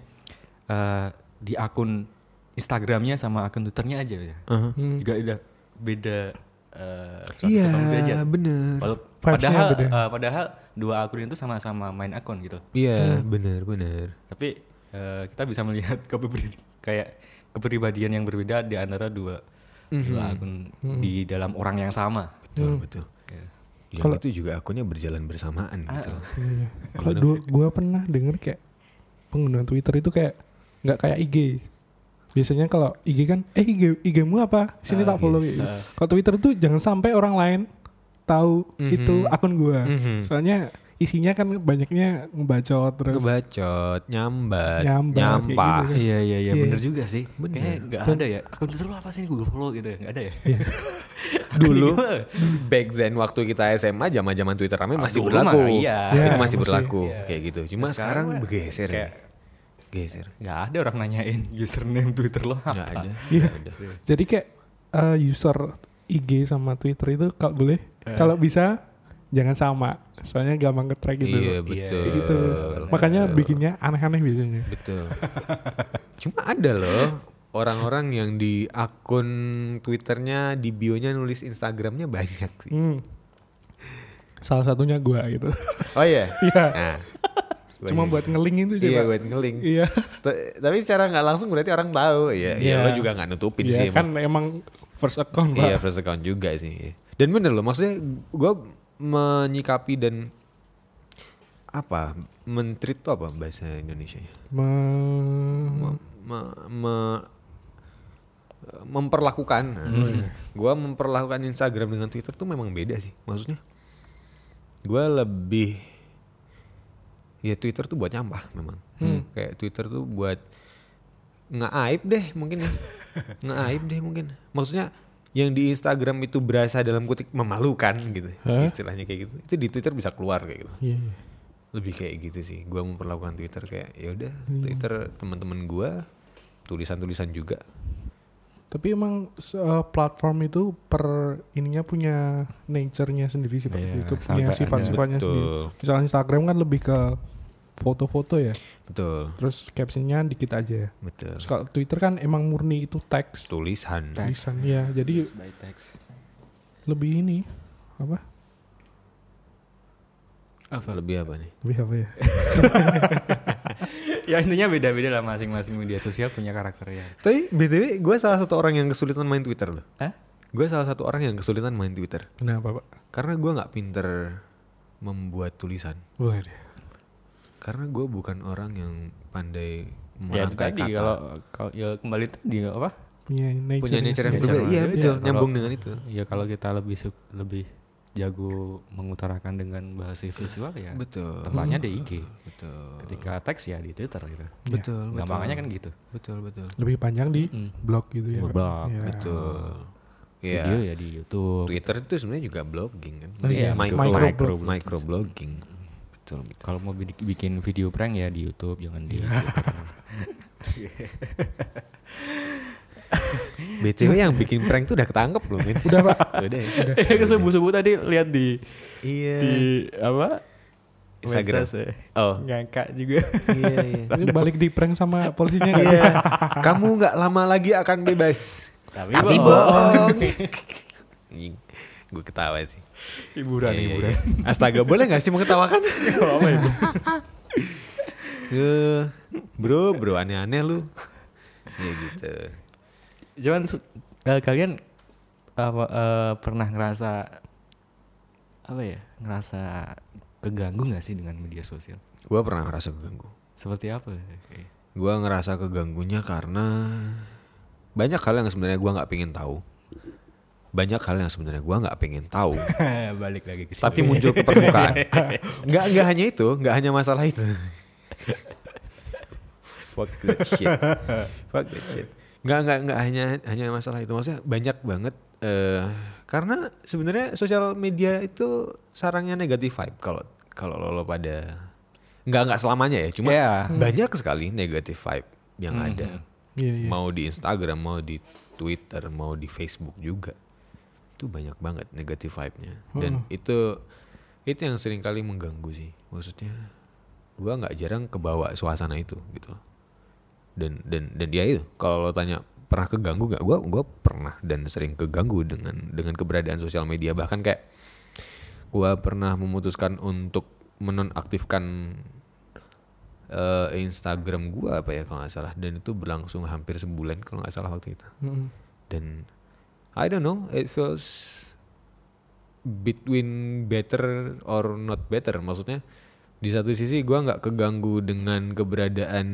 Speaker 3: eh, di akun Instagramnya sama akun Twitternya aja ya
Speaker 2: Uh-huh.
Speaker 1: Hmm.
Speaker 3: juga udah beda eh, 180
Speaker 2: iya
Speaker 3: derajat
Speaker 2: bener
Speaker 3: Walau-
Speaker 1: Vibes-nya
Speaker 3: padahal
Speaker 1: beda.
Speaker 3: eh, padahal dua akun itu sama-sama main akun gitu
Speaker 2: iya bener bener
Speaker 3: tapi eh, kita bisa melihat kepribadian kayak kepribadian yang berbeda di antara dua dua akun di dalam orang yang sama
Speaker 2: betul betul
Speaker 3: Ya.
Speaker 2: yang
Speaker 1: Hmm. Kalau-
Speaker 2: itu juga akunnya berjalan bersamaan gitu loh.
Speaker 1: Iya. Kalau dua, gua pernah denger kayak penggunaan Twitter itu kayak nggak kayak IG. Biasanya kalau IG kan, eh IG, IG mu apa? Sini
Speaker 2: Ah,
Speaker 1: tak follow gitu.
Speaker 2: iya.
Speaker 1: Kalau Twitter tuh jangan sampai orang lain tahu itu akun gua.
Speaker 2: Mhm.
Speaker 1: Soalnya isinya kan banyaknya ngebacot terus.
Speaker 2: kebacot nyambat
Speaker 1: Nyambat, kayak
Speaker 2: nyampah
Speaker 1: gitu.
Speaker 3: Iya iya iya
Speaker 1: Iya.
Speaker 3: bener juga sih.
Speaker 2: Bener.
Speaker 3: Kayaknya nggak ada ya. Akun Twitter lu apa sih Google Follow gitu ya? Nggak ada ya.
Speaker 1: Iya.
Speaker 2: dulu back then waktu kita SMA zaman-zaman Twitter
Speaker 3: Ah,
Speaker 2: rame masih
Speaker 3: dulu
Speaker 2: berlaku.
Speaker 3: mah, iya.
Speaker 2: Itu
Speaker 1: Iya,
Speaker 2: masih,
Speaker 1: masih.
Speaker 2: berlaku
Speaker 3: Iya.
Speaker 2: kayak gitu. Cuma
Speaker 3: Nah,
Speaker 2: sekarang,
Speaker 3: sekarang mah
Speaker 2: bergeser. ya.
Speaker 3: kayak-
Speaker 2: Geser.
Speaker 3: Nggak ada orang nanyain username Twitter lo apa.
Speaker 2: Enggak ada.
Speaker 1: Iya.
Speaker 2: nggak ada.
Speaker 1: Jadi kayak eh, user IG sama Twitter itu kalau boleh,
Speaker 2: Eh.
Speaker 1: kalau bisa jangan sama. Soalnya gampang nge-track gitu.
Speaker 2: Iya,
Speaker 3: Iya,
Speaker 2: betul.
Speaker 1: Kayak gitu. Makanya bikinnya aneh-aneh biasanya.
Speaker 2: Betul. Cuma ada loh orang-orang yang di akun Twitternya, di bio-nya nulis Instagramnya banyak sih.
Speaker 1: Hmm. Salah satunya gua gitu.
Speaker 2: Oh iya.
Speaker 1: Iya.
Speaker 2: Nah.
Speaker 1: Cuma buat ngeling itu coba.
Speaker 2: Iya, buat ngeling.
Speaker 1: Iya.
Speaker 2: T- Tapi secara nggak langsung berarti orang tahu. Iya,
Speaker 1: Iya.
Speaker 2: ya lo juga nggak nutupin
Speaker 1: Iya,
Speaker 2: sih. emang.
Speaker 1: kan emang first account
Speaker 2: Iya
Speaker 1: pak.
Speaker 2: first account juga sih. iya. Dan bener loh, maksudnya gue menyikapi dan apa mentreat tuh apa bahasa Indonesia nya?
Speaker 1: Me-
Speaker 2: memperlakukan. Nah, Gua memperlakukan Instagram dengan Twitter tuh memang beda sih. Maksudnya gue lebih ya Twitter tuh buat nyampah memang. Kayak Twitter tuh buat nggak aib deh mungkin ya. nggak aib deh mungkin. Maksudnya yang di Instagram itu berasa dalam kutip memalukan gitu.
Speaker 1: Hah?
Speaker 2: Istilahnya kayak gitu. Itu di Twitter bisa keluar kayak gitu.
Speaker 1: Iya.
Speaker 2: Lebih kayak gitu sih. Gua memperlakukan Twitter kayak ya udah Twitter teman-teman gua tulisan-tulisan juga.
Speaker 1: Tapi emang se- eh, platform itu per ininya punya nature-nya sendiri sih Pak.
Speaker 3: Iya,
Speaker 1: Itu punya
Speaker 3: sampai ada.
Speaker 1: sifat-sifatnya
Speaker 2: Betul.
Speaker 1: sendiri. Misalnya Instagram kan lebih ke foto-foto ya.
Speaker 2: Betul.
Speaker 1: Terus captionnya dikit aja.
Speaker 2: Betul.
Speaker 1: Terus kalau Twitter kan emang murni itu teks.
Speaker 2: Tulisan.
Speaker 4: Teks.
Speaker 1: Tulisan ya. Jadi
Speaker 4: by text.
Speaker 1: lebih ini apa?
Speaker 2: Lebih apa nih?
Speaker 1: Lebih apa ya?
Speaker 3: ya intinya beda-beda lah masing-masing media sosial punya karakternya.
Speaker 2: Tapi BTW gue salah satu orang yang kesulitan main Twitter loh.
Speaker 3: Hah?
Speaker 2: Gue salah satu orang yang kesulitan main Twitter.
Speaker 1: Kenapa Pak?
Speaker 2: Karena gue nggak pinter membuat tulisan.
Speaker 1: Waduh.
Speaker 2: Karena gue bukan orang yang pandai
Speaker 3: Ya itu
Speaker 2: merangkai
Speaker 3: tadi
Speaker 2: kata.
Speaker 3: kalau kalau- ya kembali tadi apa?
Speaker 1: Punya nature.
Speaker 2: punya nature yang
Speaker 3: sendiri.
Speaker 2: berbeda. Iya
Speaker 3: Iya,
Speaker 2: betul,
Speaker 3: kalau-
Speaker 2: nyambung dengan itu.
Speaker 3: Ya kalau kita lebih su- lebih jago mengutarakan dengan bahasa visual ya
Speaker 2: Betul.
Speaker 3: tempatnya di IG.
Speaker 2: Betul.
Speaker 3: Ketika teks ya di Twitter gitu.
Speaker 2: Betul, betul.
Speaker 3: Gampangannya kan gitu.
Speaker 2: Betul, betul.
Speaker 1: Lebih panjang di
Speaker 3: Mm.
Speaker 1: blog gitu ya. Pak?
Speaker 3: Blog,
Speaker 1: Iya.
Speaker 2: Betul. Iya.
Speaker 3: Video ya di YouTube.
Speaker 2: Twitter itu sebenarnya juga blogging kan.
Speaker 1: Oh, iya,
Speaker 2: micro,
Speaker 1: micro-
Speaker 2: micro,
Speaker 1: micro-
Speaker 2: micro blogging. Betul.
Speaker 3: Kalau mau bi- bikin video prank ya di YouTube jangan di
Speaker 2: BTW yang bikin prank tuh udah ketangkep belum ini?
Speaker 1: Udah Pak.
Speaker 2: Udah. ya?
Speaker 3: Subuh-subuh Iya, tadi lihat di
Speaker 2: Iya.
Speaker 3: di apa?
Speaker 2: Instagram.
Speaker 3: Medsos ya.
Speaker 2: Oh.
Speaker 3: Ngangkat juga.
Speaker 2: Iya, iya.
Speaker 1: Ini balik di prank sama polisinya nggak?
Speaker 2: Iya. Kamu nggak lama lagi akan bebas.
Speaker 3: Tapi
Speaker 2: Gue ketawa sih.
Speaker 3: Hiburan,
Speaker 2: Iya, iya,
Speaker 3: hiburan. ya.
Speaker 2: iya. Astaga, boleh nggak sih mengetawakan? Eh, bro, bro aneh-aneh lu. Ya gitu.
Speaker 3: Cuman su- eh, kalian apa, eh, pernah ngerasa apa ya? Ngerasa keganggu nggak sih dengan media sosial?
Speaker 2: Gua pernah ngerasa keganggu.
Speaker 3: Seperti apa? Oke.
Speaker 2: Gua ngerasa keganggunya karena banyak hal yang sebenarnya gua nggak pengen tahu. Banyak hal yang sebenarnya gua nggak pengen tahu.
Speaker 3: Balik lagi ke
Speaker 2: tapi muncul ke permukaan. Enggak enggak hanya itu, enggak hanya masalah itu. Fuck that shit. Fuck that shit. Enggak enggak enggak hanya hanya masalah itu. Maksudnya banyak banget eh karena sebenarnya sosial media itu sarangnya negatif vibe kalau kalau lo, lo pada enggak enggak selamanya ya, cuma
Speaker 3: Iya.
Speaker 2: banyak sekali negatif vibe yang ada.
Speaker 1: Hmm. Iya, iya.
Speaker 2: Mau di Instagram, mau di Twitter, mau di Facebook juga. Itu banyak banget negatif vibe-nya. Dan
Speaker 1: Hmm.
Speaker 2: itu itu yang sering kali mengganggu sih. Maksudnya gua nggak jarang kebawa suasana itu gitu loh. Dan dan dan dia itu kalau lo tanya pernah keganggu nggak? Gua gua pernah dan sering keganggu dengan dengan keberadaan sosial media bahkan kayak gua pernah memutuskan untuk menonaktifkan eh, Instagram gua apa ya kalau nggak salah dan itu berlangsung hampir sebulan kalau nggak salah waktu itu
Speaker 1: Mm-mm.
Speaker 2: dan I don't know it feels between better or not better maksudnya di satu sisi gua nggak keganggu dengan keberadaan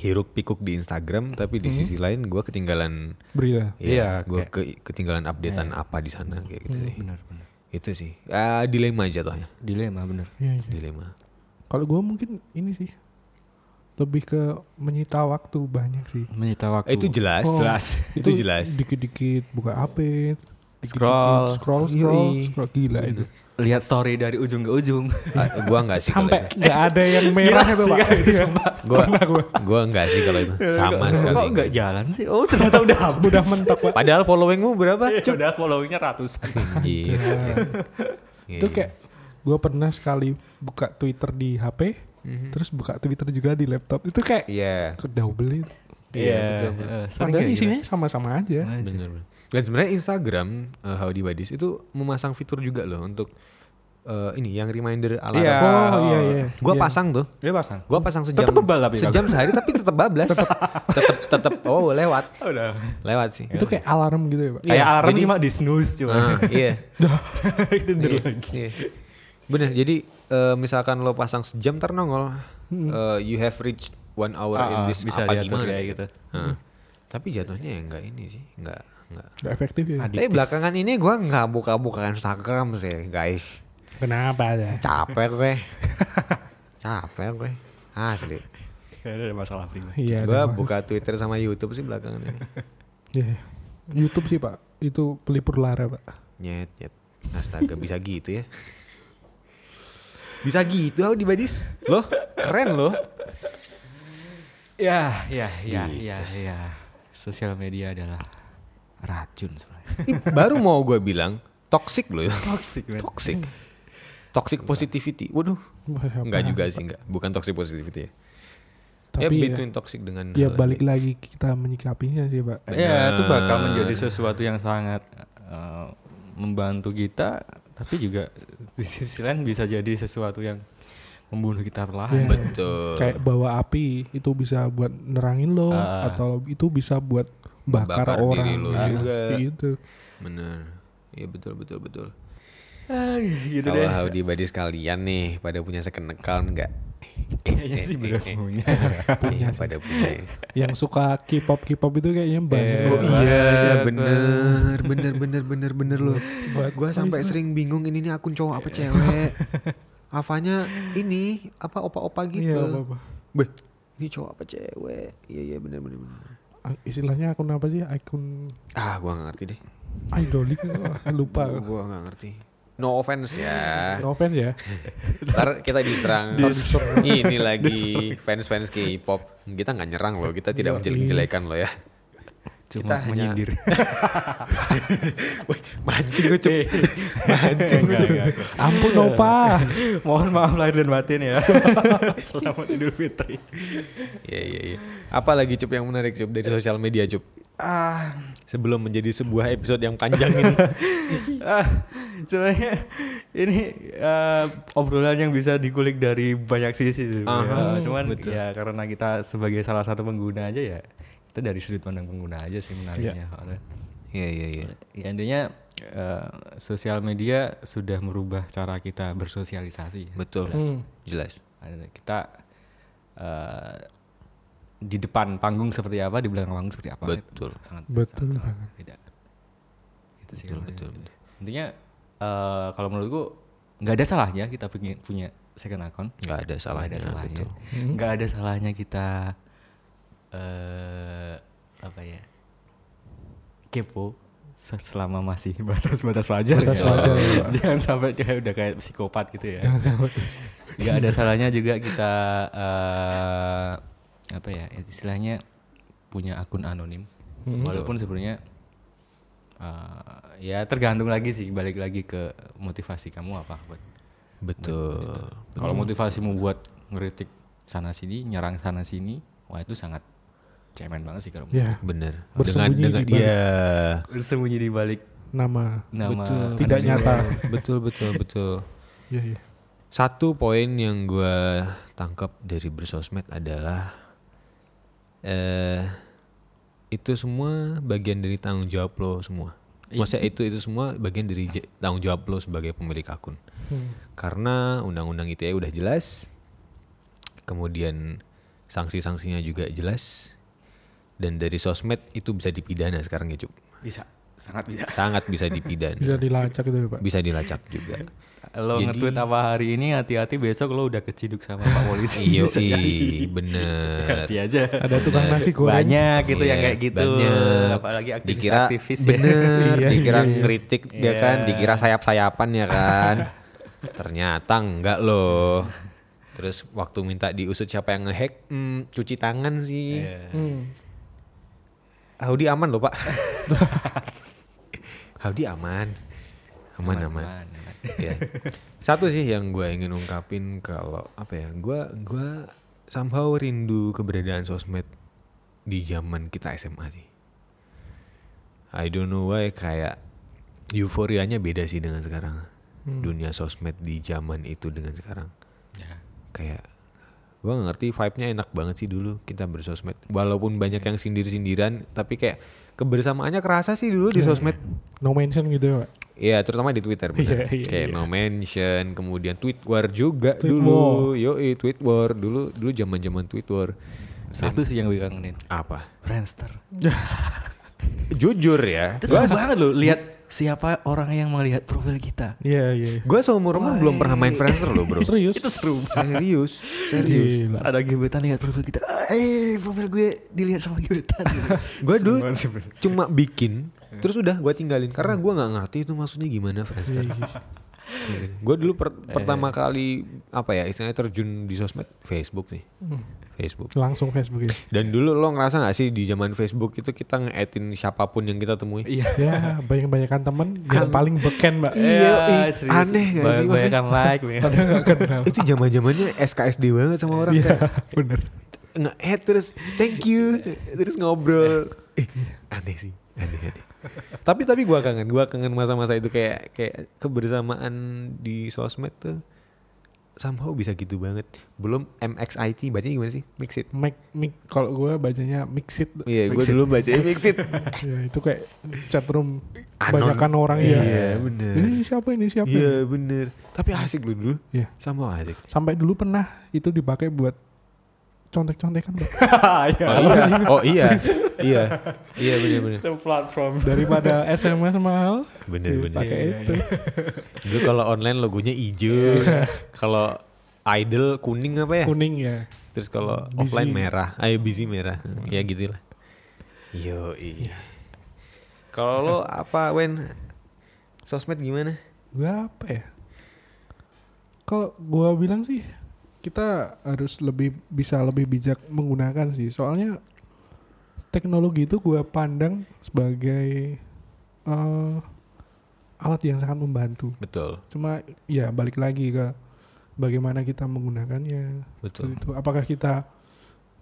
Speaker 2: hiruk pikuk di Instagram tapi di sisi lain gua ketinggalan
Speaker 1: Berita.
Speaker 2: ya,
Speaker 3: Iya, Mhm.
Speaker 2: gua ke- ketinggalan updatean apa di sana kayak gitu sih
Speaker 3: Benar, benar.
Speaker 2: itu sih Ah, dilema jatuhnya
Speaker 3: Dilema benar.
Speaker 1: Iya, iya.
Speaker 2: dilema
Speaker 1: Kalau gue mungkin ini sih lebih ke menyita waktu banyak sih.
Speaker 3: Menyita waktu.
Speaker 2: Eh, itu jelas
Speaker 1: Oh,
Speaker 2: jelas itu jelas
Speaker 1: Dikit-dikit buka HP, dikit-dikit
Speaker 3: Scroll.
Speaker 1: scroll, scroll,
Speaker 2: Yoi.
Speaker 1: scroll gila itu.
Speaker 3: lihat story dari ujung ke ujung.
Speaker 2: Ah, gua nggak sih kalau
Speaker 1: Sampai
Speaker 2: itu.
Speaker 1: nggak ada
Speaker 2: Iya
Speaker 1: yang merah itu pak.
Speaker 2: kan, gua gua nggak sih kalau itu sama sekali
Speaker 3: Kok nggak jalan sih? Oh ternyata udah habis.
Speaker 1: Udah mentok pak.
Speaker 2: padahal followingmu berapa
Speaker 3: Ya, udah followingnya ratusan.
Speaker 2: Anjir. Iya.
Speaker 1: Itu kayak gue pernah sekali buka Twitter di HP, terus buka Twitter juga di laptop. Itu kayak
Speaker 2: iya
Speaker 1: kedouble.
Speaker 3: Iya. eh, sering
Speaker 1: Padahal
Speaker 3: kayak gitu.
Speaker 1: isinya sama-sama aja.
Speaker 2: bener bener. dan sebenarnya Instagram eh, Howdy Buddies itu memasang fitur juga loh untuk eh, ini yang reminder alarm
Speaker 3: Iya.
Speaker 1: Oh iya iya.
Speaker 2: gua
Speaker 1: Iya.
Speaker 2: pasang tuh
Speaker 3: Dia pasang.
Speaker 2: gua pasang sejam
Speaker 3: Tetep bebal tapi
Speaker 2: sejam sehari tapi tetap bablas tetap tetap oh lewat
Speaker 3: Udah.
Speaker 2: lewat sih Ah,
Speaker 1: Itu kayak alarm gitu ya
Speaker 2: Iya.
Speaker 1: pak.
Speaker 3: Kayak alarm
Speaker 2: jadi-
Speaker 3: cuma di snooze
Speaker 2: Ah,
Speaker 3: cuma.
Speaker 2: iya
Speaker 3: Itu
Speaker 2: Iya, iya. Bener, jadi eh, misalkan lo pasang sejam ntar nongol, eh, you have reached one hour
Speaker 3: Hmm. Ah,
Speaker 2: in
Speaker 3: ah,
Speaker 2: this
Speaker 3: bisa
Speaker 2: apa
Speaker 3: diatur
Speaker 2: gimana
Speaker 3: kayak
Speaker 2: gitu.
Speaker 3: gitu.
Speaker 2: Heeh. Tapi jatuhnya ya enggak ini sih, enggak enggak.
Speaker 1: Gak efektif ya.
Speaker 2: Tapi belakangan ini gua enggak buka-bukaan Instagram sih, guys.
Speaker 1: Kenapa ya?
Speaker 2: Capek gue. Capek gue. Asli.
Speaker 3: ada masalah pribadi.
Speaker 1: Iya.
Speaker 2: gue
Speaker 1: ada-
Speaker 2: buka Twitter sama YouTube sih belakangan ini.
Speaker 1: Iya. YouTube sih pak, itu pelipur lara pak.
Speaker 2: Nyet, nyet. Astaga, bisa gitu ya. Bisa gitu aku di Badis. Loh, keren loh.
Speaker 3: Ya, ya, ya, ya, ya. Sosial media adalah racun sebenarnya.
Speaker 2: Ih, Baru mau gue bilang, toxic loh. ya.
Speaker 3: Toxic banget.
Speaker 2: Toxic. Toxic positivity. Waduh.
Speaker 1: Wah,
Speaker 2: Enggak
Speaker 1: Hmm. apa?
Speaker 2: juga sih, enggak. Bukan toxic positivity ya. ya
Speaker 1: Tapi ya,
Speaker 2: between toxic dengan
Speaker 1: ya
Speaker 2: hal lain.
Speaker 1: balik lagi kita menyikapinya sih pak.
Speaker 2: Iya,
Speaker 3: Ya, itu bakal menjadi sesuatu yang sangat eh, membantu kita, tapi juga di sisi lain bisa jadi sesuatu yang membunuh kita perlahan.
Speaker 2: Betul.
Speaker 1: Iya. Kayak bawa api itu bisa buat nerangin lo,
Speaker 3: Ah.
Speaker 1: atau itu bisa buat bakar,
Speaker 2: Bakar
Speaker 1: orang.
Speaker 2: diri lo
Speaker 1: Iya,
Speaker 2: juga.
Speaker 1: Gitu.
Speaker 2: Bener. Iya betul betul betul.
Speaker 3: Ah, gitu
Speaker 2: Kalau
Speaker 3: deh.
Speaker 2: Howdy Buddies kalian nih pada punya second account enggak?
Speaker 3: Kayaknya sih belum punya.
Speaker 2: Iya, pada punya. ya.
Speaker 1: Yang suka K-pop K-pop itu kayaknya banyak.
Speaker 3: Eh,
Speaker 1: banget.
Speaker 2: Iya, bener, bener, bener, bener, bener loh.
Speaker 1: Buat-
Speaker 2: Gua sampai sering bingung ini nih akun cowok apa cewek. Avanya ini apa opa-opa gitu.
Speaker 1: Iya, apa-apa.
Speaker 2: Beh, ini cowok apa cewek? Iya, iya bener, bener, bener.
Speaker 1: Ah, Istilahnya akun apa sih? Akun
Speaker 2: Ah, gua gak ngerti deh.
Speaker 1: idolik Wah, lupa.
Speaker 2: Gua gak ngerti. No offense ya.
Speaker 1: No offense ya.
Speaker 2: Ntar kita diserang ini lagi fans-fans K-pop. Kita nggak nyerang loh, kita
Speaker 1: Yoi.
Speaker 2: tidak menjelek-jelekan loh ya.
Speaker 3: Cuma
Speaker 2: hanya-
Speaker 3: menyindir.
Speaker 2: Wih, mancing gue cep. mancing gue
Speaker 3: Enggak,
Speaker 2: Cep.
Speaker 3: enggak.
Speaker 1: Ampun opa.
Speaker 3: Mohon maaf lahir dan batin ya. Selamat Idul Fitri.
Speaker 2: Iya iya iya. Apa lagi cup yang menarik cup dari sosial media cup?
Speaker 3: Ah,
Speaker 2: Sebelum menjadi sebuah episode yang panjang ini.
Speaker 3: ah, sebenarnya ini eh, obrolan yang bisa dikulik dari banyak sisi
Speaker 2: Aha,
Speaker 3: sebenarnya. Cuman
Speaker 2: betul.
Speaker 3: ya karena kita sebagai salah satu pengguna aja ya kita dari sudut pandang pengguna aja sih menariknya. Soalnya,
Speaker 2: Iya iya iya.
Speaker 3: Ya, intinya eh, sosial media sudah merubah cara kita bersosialisasi.
Speaker 2: Betul.
Speaker 3: Jelas.
Speaker 2: Jelas.
Speaker 3: Ada- Kita eh, di depan panggung seperti apa, di belakang panggung seperti apa.
Speaker 2: Betul.
Speaker 3: Itu sangat
Speaker 1: Betul
Speaker 3: sangat- sangat
Speaker 1: banget.
Speaker 3: beda. Itu sih kalau menurut gue. Intinya eh, kalau menurutku nggak ada salahnya kita punya, punya second account.
Speaker 2: Gak ada
Speaker 3: Nggak
Speaker 2: salahnya.
Speaker 3: ada salahnya. Hmm.
Speaker 2: betul.
Speaker 3: Nggak ada salahnya kita eh apa ya? kepo se- selama masih batas-batas wajar
Speaker 1: Batas
Speaker 3: ya.
Speaker 1: wajar, ya, Pak.
Speaker 3: Jangan sampai kayak udah kayak psikopat gitu ya. Gak ada salahnya juga kita eh, apa ya istilahnya punya akun anonim, walaupun sebenarnya eh, ya tergantung lagi sih balik lagi ke motivasi kamu apa. buat-
Speaker 2: Betul.
Speaker 3: Kalau motivasimu buat ngeritik sana sini, nyerang sana sini, wah itu sangat cemen banget sih kalau menurut
Speaker 1: Ya.
Speaker 2: Bener. Dengan
Speaker 1: Bersembunyi
Speaker 2: dengan
Speaker 1: di balik-
Speaker 2: iya.
Speaker 3: aku. bersembunyi di balik
Speaker 1: Nama.
Speaker 3: nama
Speaker 1: Tidak
Speaker 3: anonim.
Speaker 1: nyata.
Speaker 2: Betul betul betul.
Speaker 1: Iya iya.
Speaker 2: Satu poin yang gue tangkap dari bersosmed adalah eh itu semua bagian dari tanggung jawab lo semua.
Speaker 3: Iya.
Speaker 2: Maksudnya itu itu semua bagian dari j- tanggung jawab lo sebagai pemilik akun.
Speaker 3: Hmm.
Speaker 2: Karena undang-undang ITE udah jelas, kemudian sanksi-sanksinya juga jelas, dan dari sosmed itu bisa dipidana sekarang ya Cuk.
Speaker 3: Bisa, sangat bisa.
Speaker 2: Sangat bisa dipidana,
Speaker 1: Bisa dilacak itu ya pak.
Speaker 2: bisa dilacak juga.
Speaker 3: Lo
Speaker 2: Jadi-
Speaker 3: nge-tweet apa hari ini hati-hati besok lo udah keciduk sama Pak Polisi.
Speaker 2: Iyo,
Speaker 3: Bisa jadi.
Speaker 2: bener.
Speaker 3: Hati aja.
Speaker 1: Ada tukang nasi goreng.
Speaker 3: Banyak gitu yang
Speaker 2: Iya,
Speaker 3: kayak gitu.
Speaker 2: banyak.
Speaker 3: Apalagi aktivis
Speaker 2: dikira
Speaker 3: aktivis
Speaker 2: bener,
Speaker 1: Iya,
Speaker 2: dikira
Speaker 1: iya, iya.
Speaker 2: ngeritik dia
Speaker 3: Iya.
Speaker 2: kan, dikira sayap-sayapan ya kan. Ternyata enggak loh. Terus waktu minta diusut siapa yang ngehack, hmm, cuci tangan sih.
Speaker 3: Iya.
Speaker 1: Hmm.
Speaker 2: Audi aman loh pak. Audi aman, aman aman.
Speaker 3: aman.
Speaker 2: Ya. Satu sih yang gue ingin ungkapin kalau apa ya, gue gue somehow rindu keberadaan sosmed di zaman kita SMA sih. I don't know why kayak euforianya beda sih dengan sekarang. Dunia sosmed di zaman itu dengan sekarang
Speaker 3: Ya.
Speaker 2: kayak gue gak ngerti vibe-nya enak banget sih dulu kita bersosmed walaupun banyak yang sindir-sindiran tapi kayak kebersamaannya kerasa sih dulu di sosmed
Speaker 1: No mention gitu ya pak.
Speaker 2: Iya terutama di Twitter bener.
Speaker 1: Iya, iya,
Speaker 2: kayak
Speaker 1: iya.
Speaker 2: no mention kemudian tweet war juga
Speaker 1: Tweet
Speaker 2: dulu yoi tweet war dulu dulu zaman zaman tweet war
Speaker 3: Satu sih yang gue kangenin.
Speaker 2: apa
Speaker 3: Friendster.
Speaker 2: jujur ya
Speaker 3: Itu
Speaker 2: gua
Speaker 3: seru banget loh lihat
Speaker 4: siapa orang yang melihat profil kita.
Speaker 1: Iya, iya. iya.
Speaker 2: Gue seumur umur belum pernah main Friendster loh bro.
Speaker 1: Serius?
Speaker 4: Itu seru banget.
Speaker 2: Serius, serius.
Speaker 1: Gila.
Speaker 4: Ada gebetan lihat profil kita. "Ah, Eh, profil gue dilihat sama gebetan. gitu.
Speaker 2: Gue dulu cuma bikin, terus udah gue tinggalin karena gue nggak ngerti itu maksudnya gimana Friendster.
Speaker 1: Iya,
Speaker 2: gue dulu per-
Speaker 3: Eh.
Speaker 2: pertama kali apa ya istilahnya terjun di sosmed Facebook nih,
Speaker 3: Hmm.
Speaker 2: Facebook.
Speaker 1: Langsung Facebook ya.
Speaker 2: Dan dulu lo ngerasa gak sih di zaman Facebook itu kita nge-add-in siapapun yang kita temui? Iya.
Speaker 1: ya, banyak-banyakan temen yang paling beken, Mbak.
Speaker 2: Iya,
Speaker 4: serius.
Speaker 2: aneh gak sih?
Speaker 4: Banyak
Speaker 2: Maksudnya,
Speaker 4: yang like. banyak-
Speaker 1: Padahal gak kenal.
Speaker 2: itu zaman zamannya SKSD banget sama orang.
Speaker 1: Iya,
Speaker 2: Terus
Speaker 1: bener.
Speaker 2: Nge-add terus thank you. terus ngobrol. Eh, aneh sih. Aneh, aneh. tapi tapi gua kangen, gua kangen masa-masa itu kayak kayak kebersamaan di sosmed tuh somehow bisa gitu banget. Belum MXIT bacanya gimana sih? Mixit.
Speaker 1: Mic, mic, kalau gue bacanya mixit.
Speaker 2: Iya, gua dulu bacanya Mixit.
Speaker 1: ya, itu kayak chatroom
Speaker 2: Anon.
Speaker 1: banyakan orang ya.
Speaker 2: Iya, bener.
Speaker 1: Ini siapa ini siapa? ini?
Speaker 2: Iya, bener. Tapi asik lu dulu.
Speaker 1: Iya.
Speaker 2: Sama asik.
Speaker 1: Sampai dulu pernah itu dipakai buat contek-contekan Mbak.
Speaker 2: Oh iya, oh iya, iya, iya bener bener.
Speaker 1: daripada SMS mahal
Speaker 2: Bener Iya, bener.
Speaker 1: pakai itu.
Speaker 2: Dulu kalau online logonya hijau, kalau idol kuning apa ya?
Speaker 1: Iya. Kuning ya.
Speaker 2: Terus kalau
Speaker 1: Busy.
Speaker 2: offline merah, ayo busy merah, ya gitulah. Yo iya. Kalau lo apa Wen? Sosmed gimana?
Speaker 1: Gua apa ya? Kalau gua bilang sih kita harus lebih bisa lebih bijak menggunakan sih. Soalnya teknologi itu gua pandang sebagai eh, alat yang sangat membantu.
Speaker 2: Betul,
Speaker 1: Cuma ya balik lagi ke bagaimana kita menggunakannya.
Speaker 2: betul,
Speaker 1: Itu gitu. apakah kita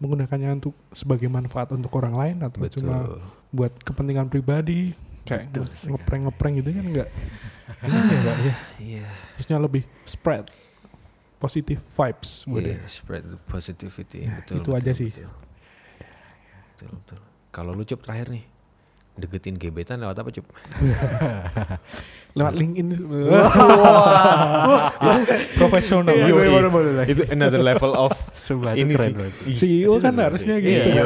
Speaker 1: menggunakannya untuk sebagai manfaat untuk orang lain atau cuma
Speaker 2: betul.
Speaker 1: buat kepentingan pribadi kayak
Speaker 4: Betul
Speaker 1: nge-
Speaker 4: sekali.
Speaker 1: ngepreng-ngepreng gitu kan enggak Gimana ya, Mbak, ya?
Speaker 2: Iya.
Speaker 1: harusnya lebih spread positive vibes buat
Speaker 2: Iya, spread the positivity.
Speaker 1: Ya,
Speaker 2: betul,
Speaker 1: itu
Speaker 2: betul,
Speaker 1: aja sih.
Speaker 2: Betul, betul. betul. Kalau lu cup terakhir nih, deketin gebetan lewat apa cup?
Speaker 1: lewat LinkedIn profesional
Speaker 2: Yoi. itu another level of
Speaker 4: Sumpah, itu
Speaker 2: ini
Speaker 4: keren
Speaker 2: sih.
Speaker 4: banget sih.
Speaker 1: CEO kan harusnya gitu
Speaker 2: Iya,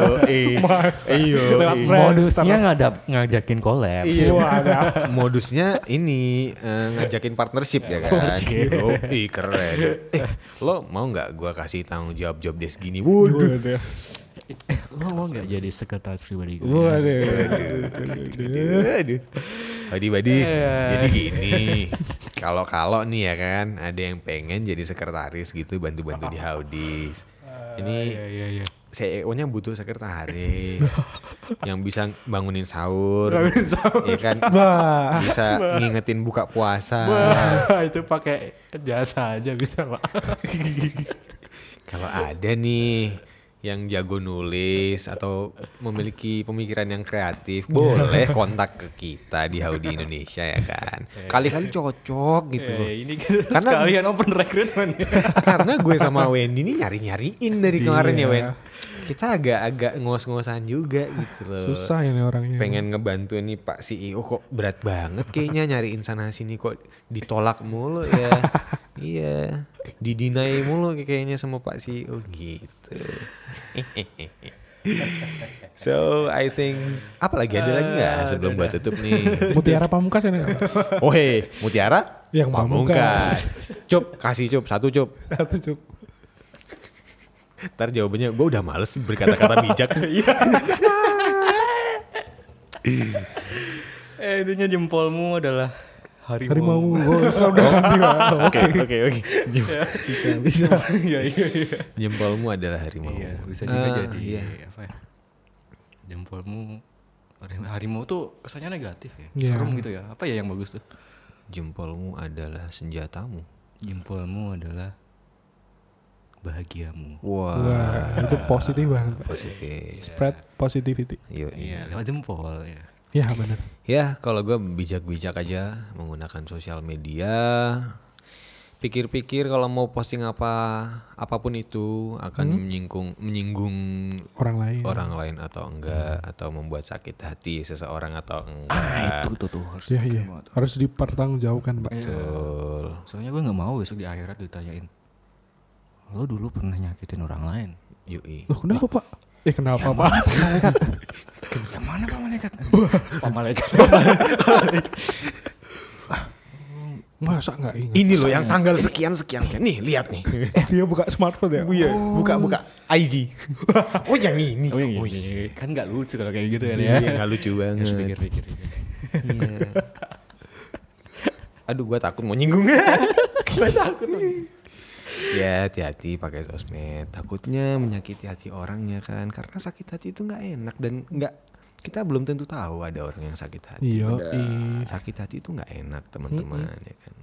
Speaker 1: Masa
Speaker 2: Iya,
Speaker 1: lewat
Speaker 2: iya.
Speaker 1: friends,
Speaker 4: Modusnya
Speaker 1: terus-
Speaker 4: ngadap ngajakin kolaps.
Speaker 2: Iya.
Speaker 1: Wadah.
Speaker 2: Modusnya ini eh, ngajakin partnership ya kan.
Speaker 4: Partnership.
Speaker 2: Yoi, keren. Eh, lo mau nggak gua kasih tanggung jawab job desk gini? Waduh.
Speaker 1: Wadah.
Speaker 4: Eh, lo mau nggak jadi sekretaris
Speaker 3: gitu
Speaker 4: pribadi
Speaker 3: ya.
Speaker 4: gue?
Speaker 1: Wadah.
Speaker 2: Aduh. Badi
Speaker 1: Eh.
Speaker 2: badis. Jadi gini, kalau-kalau nih ya kan, ada yang pengen jadi sekretaris gitu bantu-bantu di Haudis.
Speaker 1: Ah, iya,
Speaker 2: Ini CEO-nya E butuh sekretaris yang bisa bangunin sahur, ya kan,
Speaker 1: Wah.
Speaker 2: bisa ngingetin buka puasa.
Speaker 5: Wah, itu pakai jasa aja bisa, Pak.
Speaker 2: Kalau ada nih yang jago nulis atau memiliki pemikiran yang kreatif, boleh kontak ke kita di Haudi Indonesia ya kan.
Speaker 5: Iya.
Speaker 2: Kali-kali cocok gitu. loh.
Speaker 3: Ya, ini kan
Speaker 2: Karena- sekalian
Speaker 3: open recruitment
Speaker 2: Karena gue sama Wendy ini nyari-nyariin dari kemarin ya Wen. Kita agak-agak ngos-ngosan juga gitu loh.
Speaker 1: susah ya. ini orangnya
Speaker 2: pengen ngebantu nih Pak CEO kok berat banget kayaknya nyariin sana sini kok ditolak mulu ya. iya, didinai mulu kayaknya sama Pak CEO gitu. so I think apa lagi ada lagi nggak sebelum gua tutup nih?
Speaker 1: mutiara pamungkas ini
Speaker 2: Oh hey, Mutiara
Speaker 1: Yang
Speaker 2: Pamungkas. Cup, kasih cup, satu cup.
Speaker 1: satu cuk
Speaker 2: Ntar jawabannya gue udah males berkata-kata bijak.
Speaker 1: Iya.
Speaker 3: eh itunya jempolmu adalah harimau,
Speaker 1: harimau oh, sekarang udah ganti Pak. oke
Speaker 2: oke oke.
Speaker 3: iya iya iya
Speaker 2: Jempolmu adalah harimau.
Speaker 3: Iya, bisa juga
Speaker 2: Ah,
Speaker 3: jadi
Speaker 2: iya.
Speaker 3: apa ya? Jempolmu harimau- harimau tuh kesannya negatif ya.
Speaker 1: Iya.
Speaker 3: Serem gitu ya. Apa ya yang bagus tuh?
Speaker 2: Jempolmu adalah senjatamu.
Speaker 3: Jempolmu adalah bahagiamu.
Speaker 2: Wah,
Speaker 1: Wah, itu positif banget Pak.
Speaker 2: positif.
Speaker 1: spread positivity
Speaker 2: Yo,
Speaker 3: Iya, lewat jempol ya.
Speaker 1: ya benar
Speaker 2: Ya, kalau gue bijak-bijak aja menggunakan sosial media. Pikir-pikir kalau mau posting apa apapun itu akan
Speaker 1: Hmm?
Speaker 2: menyinggung menyinggung
Speaker 1: orang lain
Speaker 2: orang lain atau enggak atau membuat sakit hati seseorang atau enggak.
Speaker 3: Ah, itu tuh tuh harus.
Speaker 1: Nah, Iya iya harus dipertanggungjawabkan pak.
Speaker 2: Iya. Betul.
Speaker 3: Soalnya gue nggak mau besok di akhirat ditanyain. Lo dulu pernah nyakitin orang lain.
Speaker 2: Yui.
Speaker 1: Loh kenapa pak? Eh kenapa
Speaker 2: Iya,
Speaker 1: Pak?
Speaker 4: Yang mana Pak Malaikat?
Speaker 3: Pak malaikat.
Speaker 1: Masa nggak ingat?
Speaker 2: Ini loh yang tanggal sekian sekian sekian. Nih lihat nih.
Speaker 1: Eh, dia buka smartphone ya?
Speaker 2: Iya, buka buka IG. oh yang ini.
Speaker 3: Oh, iya, iya. Kan nggak lucu kalau kayak gitu kan ya.
Speaker 2: Iya, nggak lucu banget. Iya.
Speaker 3: Harus pikir-pikir.
Speaker 2: Aduh, gua takut mau nyinggung. gua takut. mau nyinggung. ya hati-hati pakai sosmed. Takutnya menyakiti hati orangnya kan. Karena sakit hati itu nggak enak dan nggak kita belum tentu tahu ada orang yang sakit hati.
Speaker 1: Iya.
Speaker 2: Sakit hati itu nggak enak teman-teman ya kan.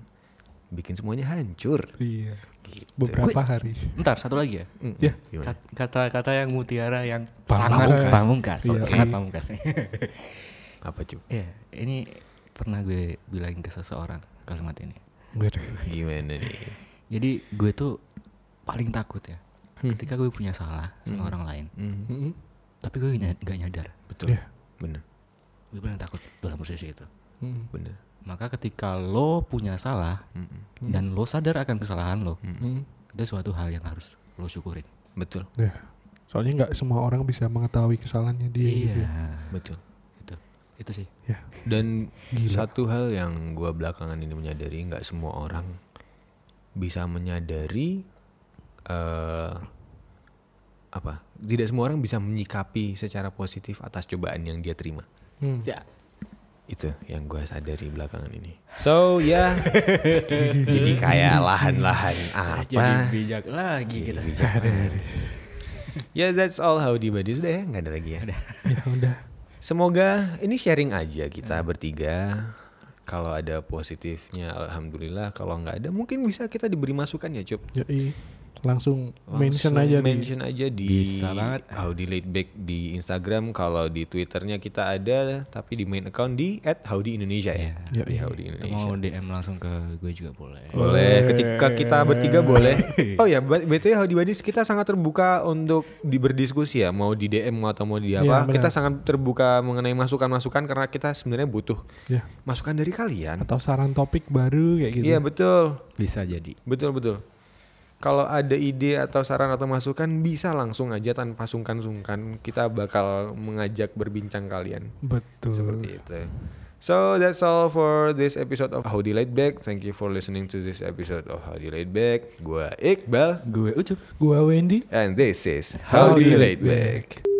Speaker 2: Bikin semuanya hancur.
Speaker 1: Iya.
Speaker 2: Gitu.
Speaker 1: Beberapa hari.
Speaker 4: Ntar satu lagi ya.
Speaker 2: Mm,
Speaker 1: Ya.
Speaker 2: gimana?
Speaker 5: Kat- Kata-kata yang mutiara yang
Speaker 4: Sangat
Speaker 1: Pamungkas.
Speaker 4: pamungkas.
Speaker 1: Iya.
Speaker 4: Sangat pamungkas.
Speaker 2: Apa cuy?
Speaker 4: Iya, ini pernah gue bilangin ke seseorang kalimat ini.
Speaker 2: Gimana nih?
Speaker 4: Jadi gue tuh paling takut ya
Speaker 1: Hmm.
Speaker 4: ketika gue punya salah sama orang lain,
Speaker 2: Mm,
Speaker 1: Mm-mm.
Speaker 4: tapi gue ny- gak nyadar.
Speaker 2: betul.
Speaker 1: Iya.
Speaker 2: Bener.
Speaker 4: Gue paling takut dalam posisi itu.
Speaker 1: Mm.
Speaker 2: Bener. Hmm,
Speaker 4: Maka ketika lo punya salah
Speaker 2: Mm-mm.
Speaker 1: Hmm.
Speaker 4: dan lo sadar akan kesalahan lo,
Speaker 1: Mm.
Speaker 4: itu suatu hal yang harus lo syukurin.
Speaker 2: Betul.
Speaker 1: Ya. Soalnya nggak semua orang bisa mengetahui kesalahannya
Speaker 2: Iya.
Speaker 1: dia. gitu ya.
Speaker 2: Betul.
Speaker 4: Itu, Iya, gitu. itu sih.
Speaker 1: Ya.
Speaker 2: Dan satu hal yang gua belakangan ini menyadari nggak semua orang bisa menyadari eh apa? Tidak semua orang bisa menyikapi secara positif atas cobaan yang dia terima.
Speaker 1: Hmm.
Speaker 3: Ya.
Speaker 2: Itu yang gua sadari belakangan ini. So ya, jadi kayak lahan-lahan apa?
Speaker 3: bijak lagi kita.
Speaker 2: Ya that's all how di body sudah ya, nggak ada lagi ya.
Speaker 1: Ya udah.
Speaker 2: Semoga ini sharing aja kita bertiga. Kalau ada positifnya, alhamdulillah. Kalau nggak ada, mungkin bisa kita diberi masukan ya, Cup.
Speaker 1: Ya langsung, mention
Speaker 2: Langsung
Speaker 1: aja di-
Speaker 2: mention aja di
Speaker 3: Bisa banget.
Speaker 2: Howdy Late Back di Instagram. Kalau di Twitternya kita ada, tapi di main account di @howdyindonesia ya.
Speaker 1: Iya,
Speaker 2: Di
Speaker 1: iya.
Speaker 2: Howdy
Speaker 3: Itu
Speaker 2: Indonesia.
Speaker 3: mau DM langsung ke gue juga boleh.
Speaker 2: Boleh, ketika kita bertiga boleh. Oh ya, b- BTW Howdy Buddies kita sangat terbuka untuk di berdiskusi ya, mau di DM atau mau di
Speaker 1: Iya,
Speaker 2: apa.
Speaker 1: benar.
Speaker 2: kita sangat terbuka mengenai masukan-masukan karena kita sebenarnya butuh
Speaker 1: Ya.
Speaker 2: masukan dari kalian.
Speaker 1: Atau saran topik baru kayak gitu.
Speaker 2: Iya, betul.
Speaker 3: Bisa jadi.
Speaker 2: Betul, betul. Kalau ada ide atau saran atau masukan bisa langsung aja tanpa sungkan-sungkan. Kita bakal mengajak berbincang kalian.
Speaker 1: Betul.
Speaker 2: Seperti itu. So that's all for this episode of Howdy Laid Back. Thank you for listening to this episode of Howdy Laid Back. Gua Iqbal
Speaker 3: Gue ucup.
Speaker 1: Gua Wendy.
Speaker 2: and this is Howdy Laid Back.